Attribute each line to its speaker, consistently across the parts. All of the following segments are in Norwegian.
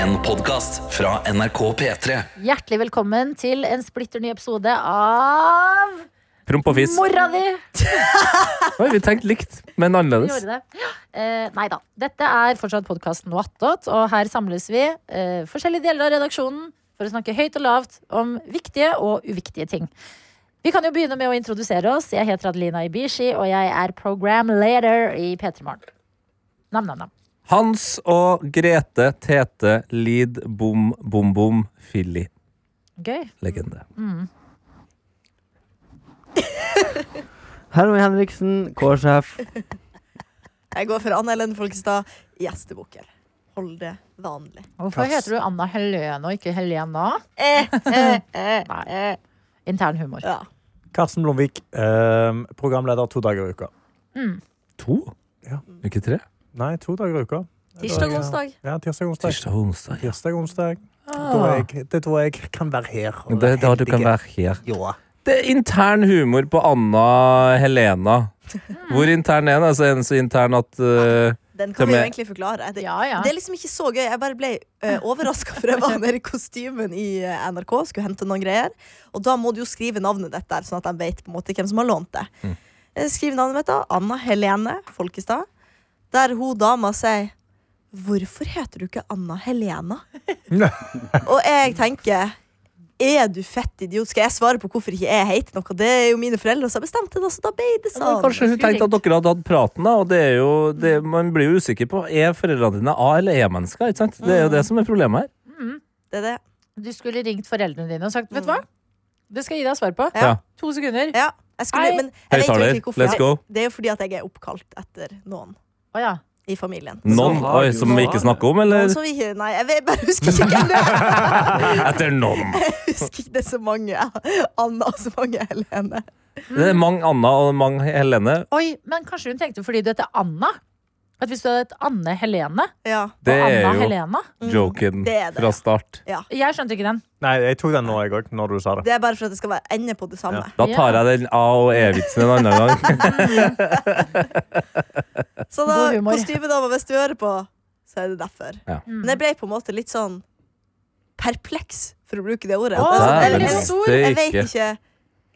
Speaker 1: En podcast fra NRK P3
Speaker 2: Hjertelig velkommen til en splitter ny episode av
Speaker 3: Promp og fis.
Speaker 2: Mora di!
Speaker 3: Oi, vi tenkte likt, men
Speaker 2: Vi
Speaker 3: annerledes.
Speaker 2: gjorde det. Eh, nei da. Dette er fortsatt podkasten Wattot, og her samles vi, eh, forskjellige deler av redaksjonen, for å snakke høyt og lavt om viktige og uviktige ting. Vi kan jo begynne med å introdusere oss. Jeg heter Adelina Ibishi, og jeg er program later i P3 Morgen. Nam-nam-nam.
Speaker 3: Hans og Grete Tete Lid Bom Bom Bom Filly.
Speaker 2: Gøy.
Speaker 3: Legende.
Speaker 4: Herman Henriksen, K-sjef.
Speaker 5: Jeg går for Anne Helen Folkestad, gjestebukker. Hold det vanlig.
Speaker 2: Hvorfor heter du Anna Helene og ikke Helena?
Speaker 5: Eh.
Speaker 2: Nei. Intern humor.
Speaker 5: Ja.
Speaker 6: Karsten Blomvik, eh, programleder to dager i uka.
Speaker 3: To?
Speaker 6: Ja.
Speaker 3: Ikke tre?
Speaker 6: Nei, to dager i uka.
Speaker 5: Tirsdag og onsdag.
Speaker 6: Ja, tirsdag og onsdag.
Speaker 3: Tirsdag og onsdag. ja.
Speaker 6: Tirsdag og onsdag. Da er jeg, det tror jeg kan være her. og
Speaker 3: Det er da du
Speaker 6: heldige.
Speaker 3: kan være her.
Speaker 6: Ja.
Speaker 3: Det er intern humor på Anna Helena. Hvor intern er den? Altså, er den så intern at eh,
Speaker 5: Den
Speaker 3: Til og
Speaker 5: kan vi jo
Speaker 3: med-
Speaker 5: egentlig forklare. Det,
Speaker 2: Ja, ja.
Speaker 5: det er liksom ikke så gøy. Jeg bare ble uh, overraska, for jeg var nede i kostymen i eh, NRK skulle hente noen greier. Og da må du jo skrive navnet ditt der, sånn at de vet på en måte hvem som har lånt det. Eh, Skriv navnet mitt, da. Anna Helene Folkestad. Der hun dama sier Hvorfor heter du ikke Anna Helena? Og jeg tenker er du fett idiot? Skal jeg svare på hvorfor ikke jeg heter noe? Det er jo mine foreldre som har bestemt det, da, så da ble det
Speaker 3: Ja,
Speaker 5: sånn.
Speaker 3: Kanskje hun tenkte at dere hadde hatt praten, da, og det er jo det, Man blir jo usikker på Er foreldrene dine A- eller E-mennesker. ikke sant? Det er jo det som er problemet her.
Speaker 5: Det er det.
Speaker 2: Du skulle ringt foreldrene dine og sagt Vet du hva? Det skal jeg gi deg svar på.
Speaker 5: Ja.
Speaker 3: Ja.
Speaker 2: To sekunder.
Speaker 5: Mm. Ja, jeg skulle,
Speaker 2: Hei.
Speaker 5: men jeg vet jo
Speaker 3: Høyttaler,
Speaker 5: egentlig hvorfor.
Speaker 3: let's go.
Speaker 5: Det er jo fordi at jeg er oppkalt etter noen
Speaker 2: Å ja.
Speaker 5: i familien.
Speaker 3: Noen
Speaker 4: har
Speaker 3: oi,
Speaker 4: du-
Speaker 3: som vi ikke snakker om, eller?
Speaker 5: Noen som ikke, nei, jeg vet- bare husker ikke hvem det er.
Speaker 3: Etter noen.
Speaker 5: Jeg husker ikke det er så mange Anna og så mange Helene.
Speaker 3: Det er mange Anna og mange Helene.
Speaker 2: Oi, men kanskje hun tenkte fordi du heter Anna? At hvis du hadde hett Anne Helene
Speaker 5: Ja,
Speaker 3: Det
Speaker 2: og
Speaker 3: er
Speaker 2: Anna
Speaker 3: jo
Speaker 2: Helena
Speaker 3: joken
Speaker 5: det er det.
Speaker 3: fra start.
Speaker 2: Jeg skjønte ikke den.
Speaker 6: Nei, jeg tok den nå, jeg òg, når du sa det.
Speaker 5: det er bare for at det skal være ende på det samme.
Speaker 3: Da tar jeg den A- og E-vitsen en annen gang.
Speaker 5: Så
Speaker 2: God
Speaker 5: da,
Speaker 2: humor. Mm.
Speaker 5: kostymedama, hvis du hører på, så er det derfor.
Speaker 3: Ja.
Speaker 5: Men jeg ble på en måte litt sånn perpleks, for å bruke det ordet.
Speaker 2: Å,
Speaker 5: Det er
Speaker 2: dæven
Speaker 5: jeg,
Speaker 3: steike.
Speaker 5: jeg, jeg vet ikke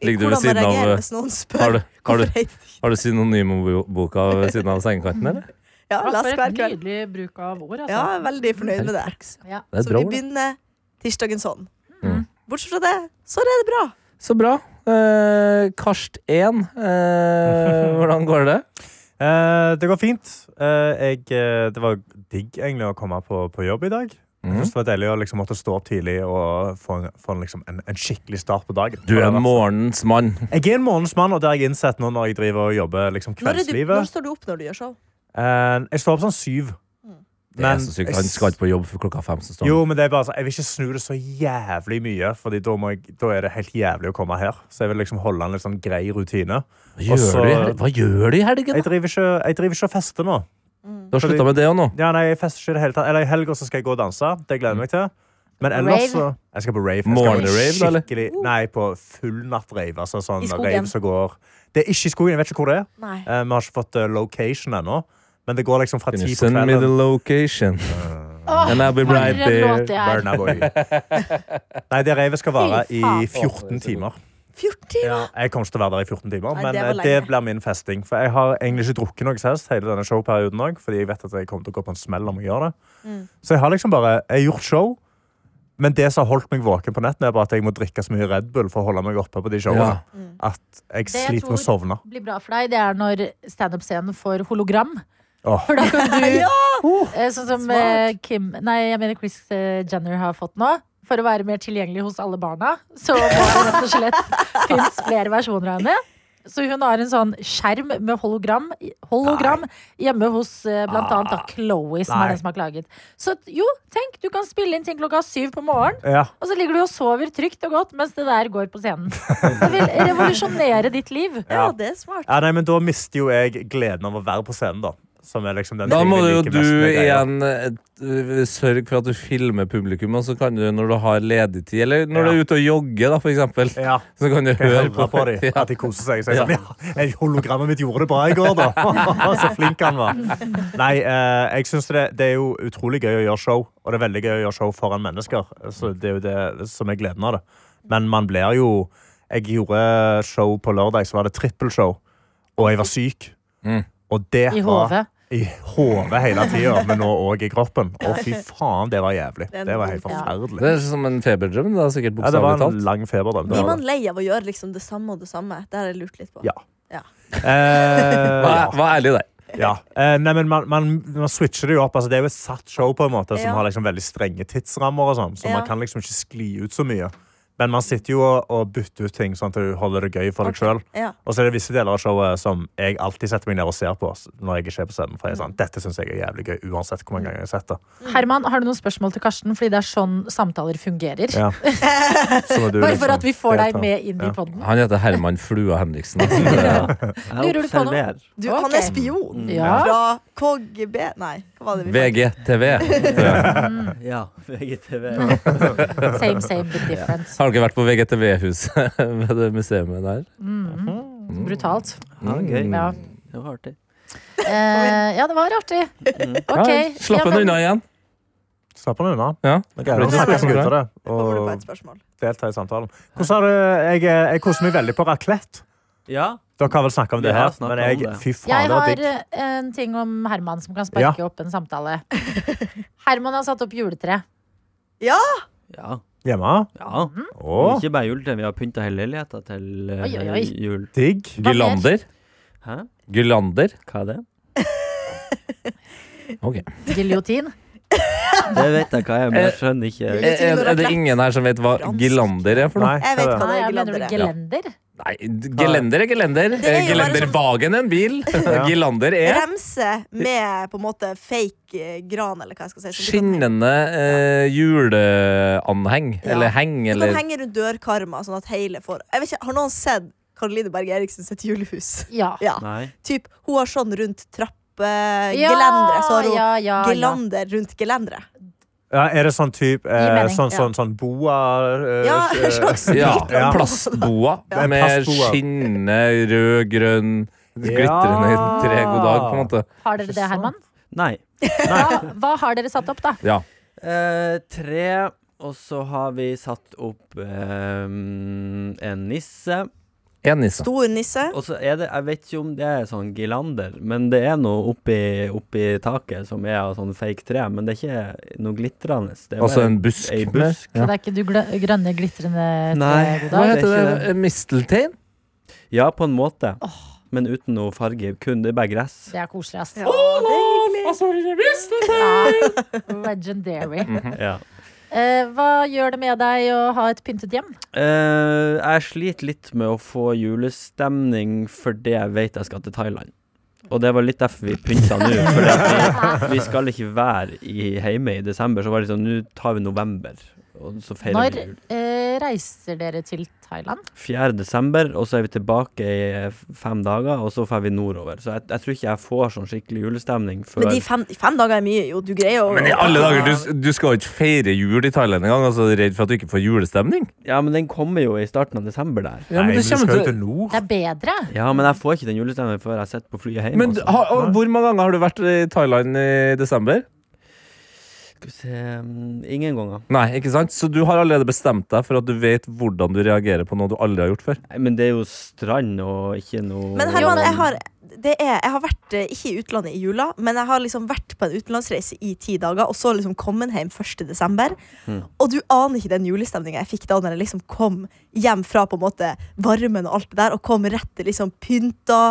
Speaker 3: Ligger du ved
Speaker 5: hvordan man
Speaker 3: siden av, eh,
Speaker 5: reagerer hvis noen spør.
Speaker 3: Har du, har du,
Speaker 5: hvorfor jeg-
Speaker 3: har du synonymboka ved siden av sengekanten, eller?
Speaker 5: Ja,
Speaker 2: Takk
Speaker 5: les
Speaker 2: for
Speaker 5: hver
Speaker 2: et
Speaker 5: kveld.
Speaker 2: nydelig bruk av ord, altså.
Speaker 5: Ja, jeg er veldig fornøyd med det.
Speaker 2: Ja.
Speaker 3: Det er
Speaker 5: Så
Speaker 3: bra.
Speaker 5: vi
Speaker 3: ord, det.
Speaker 5: begynner tirsdagen sånn.
Speaker 3: Mm.
Speaker 5: Bortsett fra det, så er det bra.
Speaker 3: Så bra. Eh, Karst 1, eh, hvordan går det?
Speaker 6: Eh, det går fint. Eh, jeg, eh, det var digg egentlig å komme på, på jobb i dag.
Speaker 3: Mhm.
Speaker 6: Jeg synes Det var deilig å liksom måtte stå opp tidlig og få, en- få en, liksom en, en skikkelig start på dagen.
Speaker 3: Du er morgenens mann.
Speaker 6: Jeg er en morgensmann, og det har jeg innsett nå når jeg driver og jobber liksom
Speaker 5: Når, er du, når
Speaker 6: kveldslivet.
Speaker 5: står du opp når Mm. du gjør show?
Speaker 6: Eh, jeg står opp sånn syv.
Speaker 3: Det er så sykt. Han skal ikke på jobb før klokka fem. Så står han.
Speaker 6: Jo, men det er bare sånn, jeg vil ikke snu det så jævlig mye, Fordi da, må jeg, da er det helt jævlig å komme her. Så jeg vil liksom holde en litt sånn grei rutine.
Speaker 3: Hva gjør,
Speaker 6: Også-
Speaker 3: du, i hel- hva gjør du i helgen?
Speaker 6: altså- Jeg
Speaker 3: da?
Speaker 6: driver ikke, jeg driver ikke og fester nå.
Speaker 3: Du har slutta med det òg nå?
Speaker 6: Ja, nei, jeg fester ikke i det hele tatt. Eller i helga så skal jeg gå og danse. Det gleder jeg meg til. Men ellers
Speaker 2: Rave? Uh.
Speaker 6: så Jeg skal på rave. Jeg skal
Speaker 3: Morgenrave, da, eller?
Speaker 6: skikkelig- Nei, på fullnatt-rave. Altså sånn
Speaker 5: I skogen?
Speaker 6: rave som går Det er ikke i skogen. Jeg vet ikke hvor det er.
Speaker 5: Nei.
Speaker 6: Eh, Vi har ikke fått eh, location ennå. Men det går liksom fra
Speaker 3: Can
Speaker 6: ti
Speaker 3: you
Speaker 6: på
Speaker 3: send me the
Speaker 6: kvelden.
Speaker 3: location?
Speaker 2: Åh,
Speaker 3: And I'll be
Speaker 2: for
Speaker 3: right
Speaker 2: en låt
Speaker 3: there.
Speaker 2: det er.
Speaker 6: Burna Boy. Nei, det ravet skal vare
Speaker 2: Fy faen.
Speaker 6: i 14 timer.
Speaker 5: 14 timer!
Speaker 6: Jeg kommer ikke til å være der i 14 timer,
Speaker 5: Nei, det
Speaker 6: men det,
Speaker 5: var
Speaker 6: det
Speaker 5: lenge.
Speaker 6: blir min festing. For jeg har egentlig ikke drukket noe sist hele denne showperioden òg, fordi jeg vet at jeg kommer til å gå på en smell om jeg gjør det.
Speaker 5: Mm.
Speaker 6: Så jeg har liksom bare Jeg har gjort show, men det som har holdt meg våken på netten, er bare at jeg må drikke så mye Red Bull for å holde meg oppe på de showene
Speaker 3: Ja.
Speaker 5: Mm.
Speaker 6: at
Speaker 2: jeg
Speaker 6: jeg sliter med å
Speaker 2: tror-
Speaker 6: sovne.
Speaker 2: Blir bra for deg, det er når standup-scenen får hologram.
Speaker 6: Åh.
Speaker 2: For da kan du
Speaker 5: Ja!
Speaker 2: eh, Sånn som
Speaker 5: Smart.
Speaker 2: eh, Kim Nei, jeg mener Chris eh, Jenner har fått nå. For å være mer tilgjengelig hos alle barna. Så må det rett og slett finnes flere versjoner av henne. Så hun har en sånn skjerm med hologram, hologram hjemme hos eh, blant
Speaker 5: Ah.
Speaker 2: annet da Chloé, som
Speaker 6: Nei.
Speaker 2: er den som har klaget. Så t- jo, tenk, du kan spille inn ting klokka syv på morgenen,
Speaker 6: Ja.
Speaker 2: og så ligger du og sover trygt og godt mens det der går på scenen. Det vil revolusjonere ditt liv.
Speaker 5: Ja, det er smart.
Speaker 6: ja, nei, men da mister jo jeg gleden av å være på scenen, da. Som er liksom den
Speaker 3: Da
Speaker 6: tingen
Speaker 3: må
Speaker 6: jeg
Speaker 3: jo
Speaker 6: liker
Speaker 3: du
Speaker 6: mest med greia.
Speaker 3: igjen eh, sørge for at du filmer publikum, og så kan du når du har ledig tid, eller når du er ute og jogger, da, for eksempel,
Speaker 6: Ja.
Speaker 3: så kan du
Speaker 6: Jeg
Speaker 3: høre
Speaker 6: hører
Speaker 3: på.
Speaker 6: på dem,
Speaker 3: Ja.
Speaker 6: at de koser seg. Så jeg, er sånn, ja, jeg- hologrammet mitt gjorde det bra i går, da. så flink han var. Nei, eh, jeg synes det, det er jo utrolig gøy å gjøre show. Og det er veldig gøy å gjøre show foran mennesker. Så det er jo det som er gleden av det. Men man blir jo Jeg gjorde show på lørdag, så var det trippelshow. Og jeg var syk.
Speaker 3: Mm.
Speaker 6: Og det
Speaker 2: I
Speaker 6: var
Speaker 2: hodet.
Speaker 6: i hodet hele tida, men nå òg i kroppen. Å, fy faen, det var jævlig.
Speaker 5: Det er en
Speaker 6: Det var helt
Speaker 5: god-
Speaker 2: ja.
Speaker 6: forferdelig.
Speaker 3: Det er som en feberdrøm, det er sikkert
Speaker 6: Ja, det
Speaker 3: bokstavelig
Speaker 6: var en
Speaker 3: talt.
Speaker 6: lang feberdrøm. det
Speaker 5: Blir
Speaker 6: var
Speaker 5: man
Speaker 6: det.
Speaker 5: lei av å gjøre liksom det samme og det samme? Det har jeg lurt litt på.
Speaker 6: Ja.
Speaker 5: Ja.
Speaker 6: Eh, ja.
Speaker 3: Vær, vær ærlig der.
Speaker 6: Ja. Eh, nei, men man, man, man switcher det jo opp. Altså, det er jo et satt show på en måte som
Speaker 5: Ja.
Speaker 6: har liksom veldig strenge tidsrammer, og sånn, så
Speaker 5: Ja.
Speaker 6: man kan liksom ikke skli ut så mye. Men man sitter jo og, og bytter ut ting sånn at du holder det gøy for deg sjøl.
Speaker 5: Ja.
Speaker 6: Og så er det visse deler av showet som jeg alltid setter meg ned og ser på. s- når jeg ikke er på scenen, for jeg er
Speaker 2: Mm.
Speaker 6: sånn, Dette syns jeg er jævlig gøy, uansett hvor mange ganger jeg har sett det.
Speaker 2: Herman, har du noen spørsmål til Karsten? Fordi det er sånn samtaler fungerer.
Speaker 6: Ja. Så må du liksom
Speaker 2: Bare for at vi får deg
Speaker 6: delta.
Speaker 2: med inn i
Speaker 6: Ja.
Speaker 2: podden.
Speaker 3: Han heter Herman Flua Henriksen. altså. Det er-
Speaker 2: Lurer du på noe?
Speaker 5: Du, Han
Speaker 2: Ok.
Speaker 5: er spion
Speaker 2: Ja.
Speaker 5: fra KGB Nei, hva var det vi
Speaker 3: VGTV.
Speaker 4: Ja, VGTV.
Speaker 2: Same, same, but different.
Speaker 3: Har dere vært på VGTV-huset ved det museet der?
Speaker 2: Mm,
Speaker 3: Mm.
Speaker 2: Brutalt.
Speaker 4: Ja, gøy.
Speaker 2: Ja.
Speaker 4: Det var artig.
Speaker 2: Eh, ja, det var artig. Ok.
Speaker 3: Mm. Ja, slapp
Speaker 2: ja,
Speaker 3: henne
Speaker 2: men-
Speaker 3: unna igjen.
Speaker 6: Slapp den unna.
Speaker 3: Ja.
Speaker 6: Det er gøy å
Speaker 5: Ja.
Speaker 6: snakke med gutter, det,
Speaker 5: Kommer du på
Speaker 6: og
Speaker 5: et spørsmål?
Speaker 6: delta i samtalen. Hvordan har du Jeg, eh, jeg koser meg veldig på raclette.
Speaker 4: Ja.
Speaker 6: Dere har vel snakka om det
Speaker 4: Vi har
Speaker 6: her,
Speaker 4: snakket
Speaker 6: men jeg,
Speaker 4: om det.
Speaker 6: fy faen,
Speaker 2: Jeg
Speaker 6: det var digg.
Speaker 2: har eh, en ting om Herman som kan sparke opp en samtale. Herman har satt opp juletre.
Speaker 4: Ja.
Speaker 6: Hjemme?
Speaker 4: ja.
Speaker 6: Å,
Speaker 4: Ikke bare juletre. Vi har pynta hele leiligheta til eh,
Speaker 2: Oi, oi, oi.
Speaker 4: jul.
Speaker 6: digg.
Speaker 2: mer?
Speaker 3: Gylander.
Speaker 4: Hæ?
Speaker 3: Gylander.
Speaker 4: Hva er det?
Speaker 3: Ok.
Speaker 2: Giljotin.
Speaker 4: Det vet jeg hva jeg er, men jeg skjønner
Speaker 3: Er,
Speaker 4: ikke
Speaker 3: er, er det ingen her som vet hva
Speaker 5: Fransk.
Speaker 3: Gylander er for noe?
Speaker 6: Nei,
Speaker 5: Jeg vet hva
Speaker 2: Nei,
Speaker 5: det
Speaker 2: jeg
Speaker 5: er.
Speaker 2: mener du
Speaker 5: Gleder jeg.
Speaker 2: gelender?
Speaker 3: Nei, gelender er gelender.
Speaker 5: Det er jo bare sånn-
Speaker 3: Gelendervagen er en bil.
Speaker 6: Ja.
Speaker 3: Gilander er
Speaker 5: Remse med på en måte fake eh, gran, eller hva jeg skal si. som du kan henge-
Speaker 3: skinnende eh, juleanheng.
Speaker 5: Ja.
Speaker 3: Eller heng,
Speaker 5: Du kan
Speaker 3: eller
Speaker 5: henge rundt dørkarma, sånn at hele får Jeg vet ikke, Har noen sett Caroline Berg Eriksen sitt julehus?
Speaker 2: Ja.
Speaker 5: Ja.
Speaker 4: Nei.
Speaker 5: Typ, hun har sånn rundt
Speaker 2: Ja,
Speaker 5: trappegelendere. så har hun
Speaker 2: ja, ja, ja.
Speaker 5: gelander rundt gelendere.
Speaker 6: Ja, er det sånn type eh,
Speaker 2: mening,
Speaker 6: sånn,
Speaker 5: ja.
Speaker 6: sånn, sånn boa eh,
Speaker 5: Ja,
Speaker 6: eh,
Speaker 5: slags
Speaker 3: ja,
Speaker 6: Ja.
Speaker 3: plastboa
Speaker 6: Ja.
Speaker 3: med
Speaker 6: Plastboa.
Speaker 3: skinnende rød, grønn, glitrende
Speaker 6: Ja.
Speaker 3: tre. God dag, på en måte.
Speaker 2: Har dere det, Herman?
Speaker 4: Nei.
Speaker 2: Hva, hva har dere satt opp, da?
Speaker 3: Ja.
Speaker 4: Eh, tre. Og så har vi satt opp eh, en nisse.
Speaker 3: En nisse.
Speaker 5: Stor nisse.
Speaker 4: Og så er det, jeg vet ikke om det er sånn gilander, men det er noe oppi, oppi taket som er av sånn fake tre, men det er ikke noe glitrende. Det er
Speaker 3: Altså
Speaker 4: bare
Speaker 3: en busk.
Speaker 4: Ei
Speaker 3: med-
Speaker 4: busk.
Speaker 2: Så
Speaker 3: Ja.
Speaker 2: det er ikke du glø- grønne, glitrende
Speaker 4: Nei.
Speaker 2: tre? Goddag?
Speaker 3: Hva
Speaker 4: det er
Speaker 3: heter det?
Speaker 4: ikke det.
Speaker 3: Misteltein?
Speaker 4: Ja, på en måte. Men uten noe farge. Kun det er bare gress.
Speaker 2: Det er koselig, ass.
Speaker 5: Ja, det
Speaker 2: Ja. Legendary.
Speaker 4: Ja.
Speaker 2: Eh, hva gjør det med deg å ha et pyntet hjem?
Speaker 4: Eh, jeg sliter litt med å få julestemning fordi jeg vet jeg skal til Thailand. Og det var litt derfor vi pynta nå. Fordi at vi, vi skal ikke være i, hjemme i desember, så var det sånn Nå tar vi november, og så feirer
Speaker 2: Når
Speaker 4: vi jul.
Speaker 2: eh, reiser dere til Thailand?
Speaker 4: 4. desember, og så er vi tilbake i eh, fem dager, og så drar vi nordover. Så jeg, jeg tror ikke jeg får sånn skikkelig julestemning før
Speaker 5: Men de fem, fem dager er mye, jo. Du greier jo
Speaker 3: Men i alle dager, du, du skal jo ikke feire jul i Thailand engang. Altså, redd for at du ikke får julestemning?
Speaker 4: Ja, men den kommer jo i starten av desember der.
Speaker 3: Ja, men
Speaker 6: Nei,
Speaker 3: det
Speaker 6: men du
Speaker 3: kommer
Speaker 6: skal jo
Speaker 3: til-
Speaker 6: til nord.
Speaker 2: Det er bedre.
Speaker 4: Ja, men jeg får ikke den julestemningen før jeg sitter på flyet hjemme.
Speaker 3: Men
Speaker 4: altså. også.
Speaker 3: har- og hvor mange ganger har du vært i Thailand i desember?
Speaker 4: Skal vi se mm, Ingen ganger.
Speaker 3: Nei, ikke sant? Så du har allerede bestemt deg for at du vet hvordan du reagerer på noe du aldri har gjort før?
Speaker 4: Nei, men det er jo strand og ikke noe
Speaker 5: Men Herman, jeg har, det er, jeg har vært eh, ikke i utlandet i jula, men jeg har liksom vært på en utenlandsreise i ti dager, og så liksom kommet hjem 1. desember.
Speaker 3: Hmm.
Speaker 5: Og du aner ikke den julestemninga jeg fikk da når jeg liksom kom hjem fra på en måte varmen og alt det der, og kom rett til liksom pynta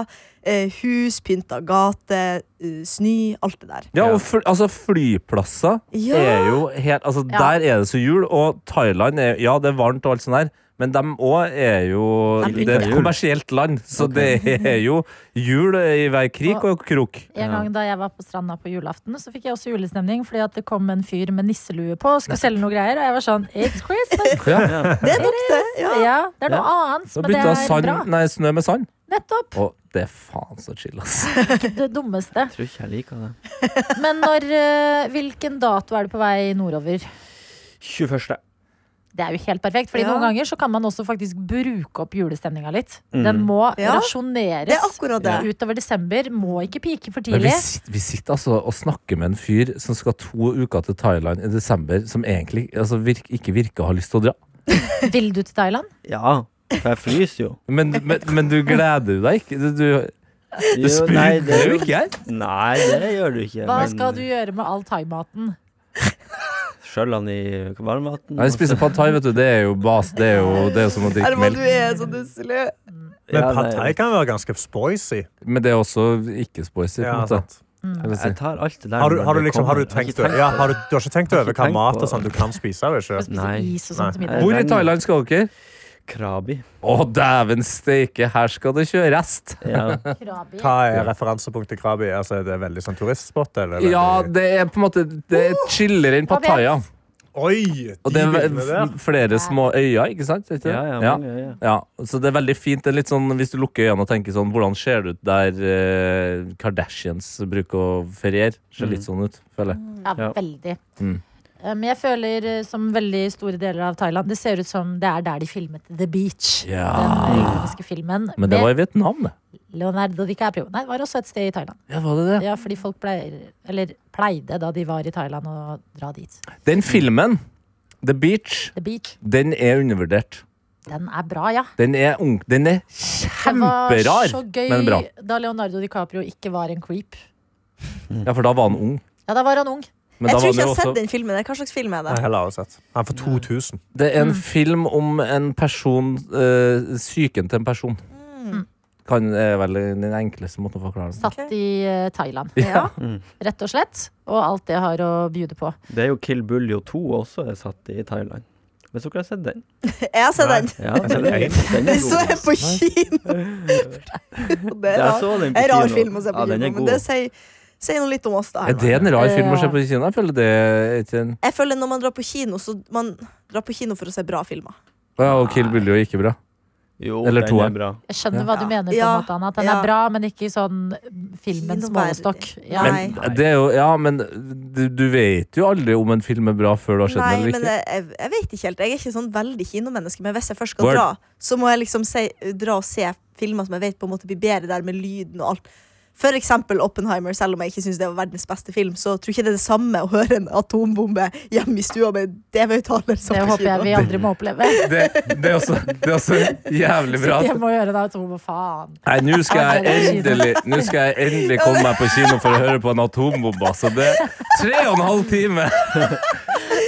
Speaker 5: eh, hus, pynta gate, eh, snø, alt det der.
Speaker 3: Ja, og fl altså flyplasser
Speaker 5: Ja.
Speaker 3: er jo helt Altså,
Speaker 2: Ja.
Speaker 3: der er det så jul, og Thailand er Ja, det er varmt og alt sånt der, men dem òg er jo
Speaker 5: De liker
Speaker 3: Det er et
Speaker 4: jul.
Speaker 3: kommersielt land, så det er jo jul i hver krik og krok.
Speaker 2: En gang da jeg var på stranda på julaften, så fikk jeg også julestemning fordi at det kom en fyr med nisselue på og skulle selge noe greier, og jeg var sånn It's Christmas!
Speaker 5: Det er nok det! Ja.
Speaker 2: Ja, det er noe annet,
Speaker 3: Så
Speaker 2: men det
Speaker 3: bytta
Speaker 2: er
Speaker 3: sand,
Speaker 2: bra.
Speaker 3: nei, snø med sand.
Speaker 2: Nettopp.
Speaker 3: Og det er faen så chill, ass.
Speaker 2: Det dummeste.
Speaker 4: Jeg tror ikke jeg liker det.
Speaker 2: Men når eh, Hvilken dato er du på vei nordover?
Speaker 4: 21.
Speaker 2: Det er jo helt perfekt, fordi
Speaker 5: Ja.
Speaker 2: noen ganger så kan man også faktisk bruke opp julestemninga litt.
Speaker 3: Mm.
Speaker 2: Den
Speaker 4: Mhm.
Speaker 2: må
Speaker 5: Ja. Det er
Speaker 2: rasjoneres
Speaker 5: akkurat det.
Speaker 2: utover desember. Må ikke pike for
Speaker 3: Men vi,
Speaker 2: tidlig.
Speaker 3: sit- vi sitter altså og snakker med en fyr som skal to uker til Thailand i desember, som egentlig altså, virk, ikke virker å ha lyst til å dra.
Speaker 2: Vil du til Thailand?
Speaker 4: Ja, for jeg fryser jo.
Speaker 3: Men, men, men du gleder deg ikke? Du, du,
Speaker 4: Jo,
Speaker 3: det
Speaker 4: nei,
Speaker 3: sprudler
Speaker 4: det er
Speaker 3: jo
Speaker 4: jo-
Speaker 3: ikke her.
Speaker 4: Nei, det gjør du ikke.
Speaker 2: Hva
Speaker 4: men
Speaker 2: skal du gjøre med all thaimaten?
Speaker 4: Skjøll han i varmvatten.
Speaker 3: Nei, spise pad thai, vet du. Det er jo bas. Det er jo, det er jo som å drikke
Speaker 5: Herman, du
Speaker 3: melk.
Speaker 5: er så dusselig.
Speaker 6: Men
Speaker 4: Ja,
Speaker 6: pad
Speaker 4: nei,
Speaker 6: thai kan være ganske spoisy.
Speaker 3: Men det er også ikke spicy, på en
Speaker 6: Ja,
Speaker 3: måte.
Speaker 6: sant.
Speaker 3: Jeg vil si.
Speaker 4: Jeg tar alt det der.
Speaker 6: Har du,
Speaker 4: når
Speaker 6: har du,
Speaker 4: det
Speaker 6: liksom, har du
Speaker 4: kommer. Jeg
Speaker 6: tenkt
Speaker 4: ikke
Speaker 6: ja, har du, du har ikke tenkt
Speaker 4: Jeg har
Speaker 6: over
Speaker 4: ikke
Speaker 6: hva
Speaker 4: tenkt
Speaker 6: mat
Speaker 4: på-
Speaker 6: og sånn du kan spise? eller
Speaker 2: Skal
Speaker 6: Ikke?
Speaker 2: spise
Speaker 4: Nei.
Speaker 2: is og sånn til middag.
Speaker 3: Hvor i Thailand skal dere?
Speaker 4: Krabi.
Speaker 3: Å, dæven steike, her skal det kjøres!
Speaker 4: Ja.
Speaker 2: Krabi.
Speaker 6: Hva er referansepunktet Krabi? Altså, er det veldig sånn turistspot? Eller veldig...
Speaker 3: Ja, det er på en måte Det er chillere enn
Speaker 2: Pad Thai.
Speaker 3: Pattaya.
Speaker 6: Oi!
Speaker 3: Og
Speaker 6: De
Speaker 3: det er
Speaker 6: bildene der.
Speaker 3: f- flere små øyer, ikke sant? Er ikke det?
Speaker 4: Ja, ja, mange, ja.
Speaker 3: Ja, så det er veldig fint. Det er litt sånn, hvis du lukker øynene og tenker sånn Hvordan ser det ut der eh, Kardashians bruker å feriere? Ser litt sånn ut, føler jeg.
Speaker 2: Ja,
Speaker 4: Ja.
Speaker 2: veldig.
Speaker 3: Mm.
Speaker 2: Eh, Men jeg føler eh, som veldig store deler av Thailand Det ser ut som det er der de filmet The Beach.
Speaker 3: Ja.
Speaker 2: Den økonomiske filmen
Speaker 3: Men det var i Vietnam, det.
Speaker 2: med Leonardo DiCaprio. Nei, det var også et sted i Thailand.
Speaker 3: Ja, var det det?
Speaker 2: Ja, fordi folk pleier, eller pleide da de var i Thailand å dra dit.
Speaker 3: Den filmen, The Beach,
Speaker 2: The Beach,
Speaker 3: den er undervurdert.
Speaker 2: den er bra, ja.
Speaker 3: Den er, ung, den er kjemperar,
Speaker 2: Det
Speaker 3: men bra.
Speaker 2: var så gøy da Leonardo DiCaprio ikke var en creep.
Speaker 3: Ja, for da var han ung.
Speaker 2: Ja, da var han ung.
Speaker 3: Men
Speaker 5: Jeg
Speaker 3: da var
Speaker 5: tror ikke jeg
Speaker 3: han jo
Speaker 5: har sett
Speaker 3: også
Speaker 5: den filmen. Hva slags film er
Speaker 6: Nei,
Speaker 5: det?
Speaker 6: heller aldri sett. Han for 2000.
Speaker 3: Det er en
Speaker 5: Mm.
Speaker 3: film om en person eh, Syken til en person.
Speaker 5: Mm.
Speaker 3: Kan er vel den enkleste måten å forklare det på.
Speaker 2: Satt i eh, Thailand,
Speaker 5: Ja.
Speaker 2: rett og slett. Og alt det har å bjude på.
Speaker 4: Det er jo Kill Buljo 2 også er satt i Thailand. Hvis dere har sett den?
Speaker 5: Jeg har sett den.
Speaker 4: Ja, den er, den er
Speaker 5: Den så jeg
Speaker 4: god.
Speaker 5: på kino! Og Det er
Speaker 4: Jeg
Speaker 5: rar,
Speaker 4: så den på
Speaker 5: en rar
Speaker 4: kino.
Speaker 5: film å se på
Speaker 4: Ja, den er
Speaker 5: kino, men
Speaker 4: god.
Speaker 5: det sier sier noe litt om oss. da
Speaker 3: Er det en rar film å se
Speaker 2: Ja.
Speaker 3: på i Kina? Jeg føler det er ikke en
Speaker 5: Jeg føler Når man drar på kino, så man drar på kino for å se bra filmer.
Speaker 3: Ja, og Kill Bill er jo ikke bra.
Speaker 4: Jo,
Speaker 3: Eller
Speaker 4: den
Speaker 3: toeren.
Speaker 4: er bra.
Speaker 2: Jeg skjønner
Speaker 3: Ja.
Speaker 2: hva du mener. på en
Speaker 5: Ja.
Speaker 2: måte, Anna. At den
Speaker 5: Ja.
Speaker 2: er bra, men ikke sånn filmens
Speaker 5: Kinoverdig.
Speaker 2: målestokk. Ja.
Speaker 5: Nei.
Speaker 3: Men, det er jo, ja, men du, du vet jo aldri om en film er bra før du har sett
Speaker 5: Nei,
Speaker 3: den eller
Speaker 5: men
Speaker 3: ikke.
Speaker 5: jeg, jeg, jeg vet ikke helt. Jeg er ikke sånn veldig kinomenneske, men hvis jeg først skal
Speaker 3: Word.
Speaker 5: dra, så må jeg liksom si, dra og se filmer som jeg vet på en måte blir bedre der med lyden og alt. For eksempel Oppenheimer, selv om jeg ikke syns det var verdens beste film, så tror jeg ikke det er det samme å høre en atombombe hjemme i stua med DV-høyttaler.
Speaker 2: Det håper jeg vi aldri må oppleve.
Speaker 3: Det, det, er også, det er også jævlig bra.
Speaker 2: Sitte hjemme og gjøre det atomet, faen.
Speaker 3: Nei, nå skal, jeg endelig, nå skal jeg endelig komme meg på kino for å høre på en atombombe. Altså, det er tre og en halv time!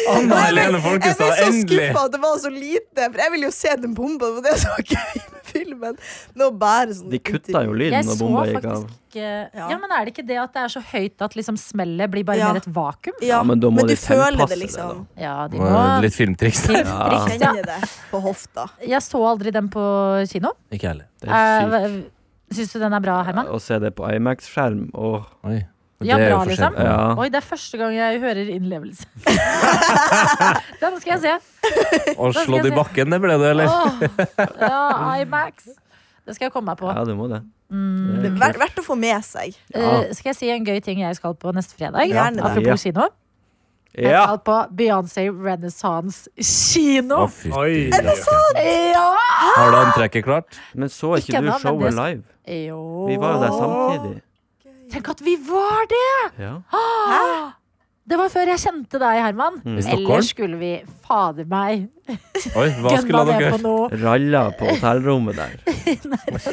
Speaker 3: Anna Helene
Speaker 5: Jeg ble
Speaker 3: Folkestad,
Speaker 5: så
Speaker 3: endelig!
Speaker 5: skuffa at det var så lite, for jeg ville jo se den bomba. Og det var så gøy med filmen. Nå bare sånn
Speaker 4: De kutta jo lyden
Speaker 2: Jeg
Speaker 4: når
Speaker 2: så
Speaker 4: bomba gikk av.
Speaker 2: faktisk ikke
Speaker 5: Ja.
Speaker 2: Ja, men er det ikke det at det er så høyt at liksom smellet blir bare
Speaker 5: Ja.
Speaker 2: mer et vakuum?
Speaker 5: Ja,
Speaker 4: men da må
Speaker 5: men
Speaker 4: de
Speaker 5: du føler
Speaker 4: tilpasse
Speaker 5: det,
Speaker 4: det,
Speaker 5: liksom.
Speaker 2: Ja, de må
Speaker 3: Må- Litt filmtriks.
Speaker 2: Til-
Speaker 4: Ja.
Speaker 2: Triks, ja.
Speaker 5: Kjenner det på hofta.
Speaker 2: Jeg så aldri den på kino.
Speaker 3: Ikke heller.
Speaker 4: Det er sykt.
Speaker 2: Eh, Syns du den er bra, Herman?
Speaker 4: Å se det på IMAX-skjerm og
Speaker 3: Oi. Men
Speaker 2: Ja,
Speaker 3: det er jo
Speaker 2: bra,
Speaker 3: forskjell.
Speaker 2: liksom.
Speaker 4: Ja.
Speaker 2: Oi, det er første gang jeg hører innlevelse. den skal jeg se.
Speaker 3: Å slå det i bakken, det ble det, eller?
Speaker 2: Åh, ja, IMAX. Det skal jeg komme meg på.
Speaker 4: Ja, du må det.
Speaker 5: Det
Speaker 2: Mm.
Speaker 4: Det
Speaker 5: er
Speaker 4: er
Speaker 5: Verdt
Speaker 4: kult.
Speaker 5: verdt å få med seg.
Speaker 4: Ja.
Speaker 2: Eh, skal jeg si en gøy ting jeg skal på neste fredag?
Speaker 5: Gjerne det.
Speaker 2: Apropos kino. Jeg
Speaker 4: Ja!
Speaker 2: skal på Beyoncé Renaissance kino.
Speaker 3: Å, fytti
Speaker 6: Oi. Er det
Speaker 3: rakkeren.
Speaker 2: Ja!
Speaker 3: Har du antrekket klart?
Speaker 4: Men så
Speaker 2: Ikke
Speaker 4: ikke
Speaker 2: ennå,
Speaker 4: du
Speaker 2: men
Speaker 4: showet
Speaker 2: det-
Speaker 4: live?
Speaker 2: Jo.
Speaker 4: Vi var jo der samtidig.
Speaker 2: Tenk at vi var det!
Speaker 4: Ja.
Speaker 2: Det var før jeg kjente deg, Herman.
Speaker 4: Mm.
Speaker 3: I Stockholm?
Speaker 2: Ellers skulle vi fader meg
Speaker 3: Oi, hva skulle
Speaker 2: gønna
Speaker 3: han ha
Speaker 2: det på
Speaker 3: gjort?
Speaker 2: noe.
Speaker 4: Ralla på hotellrommet der.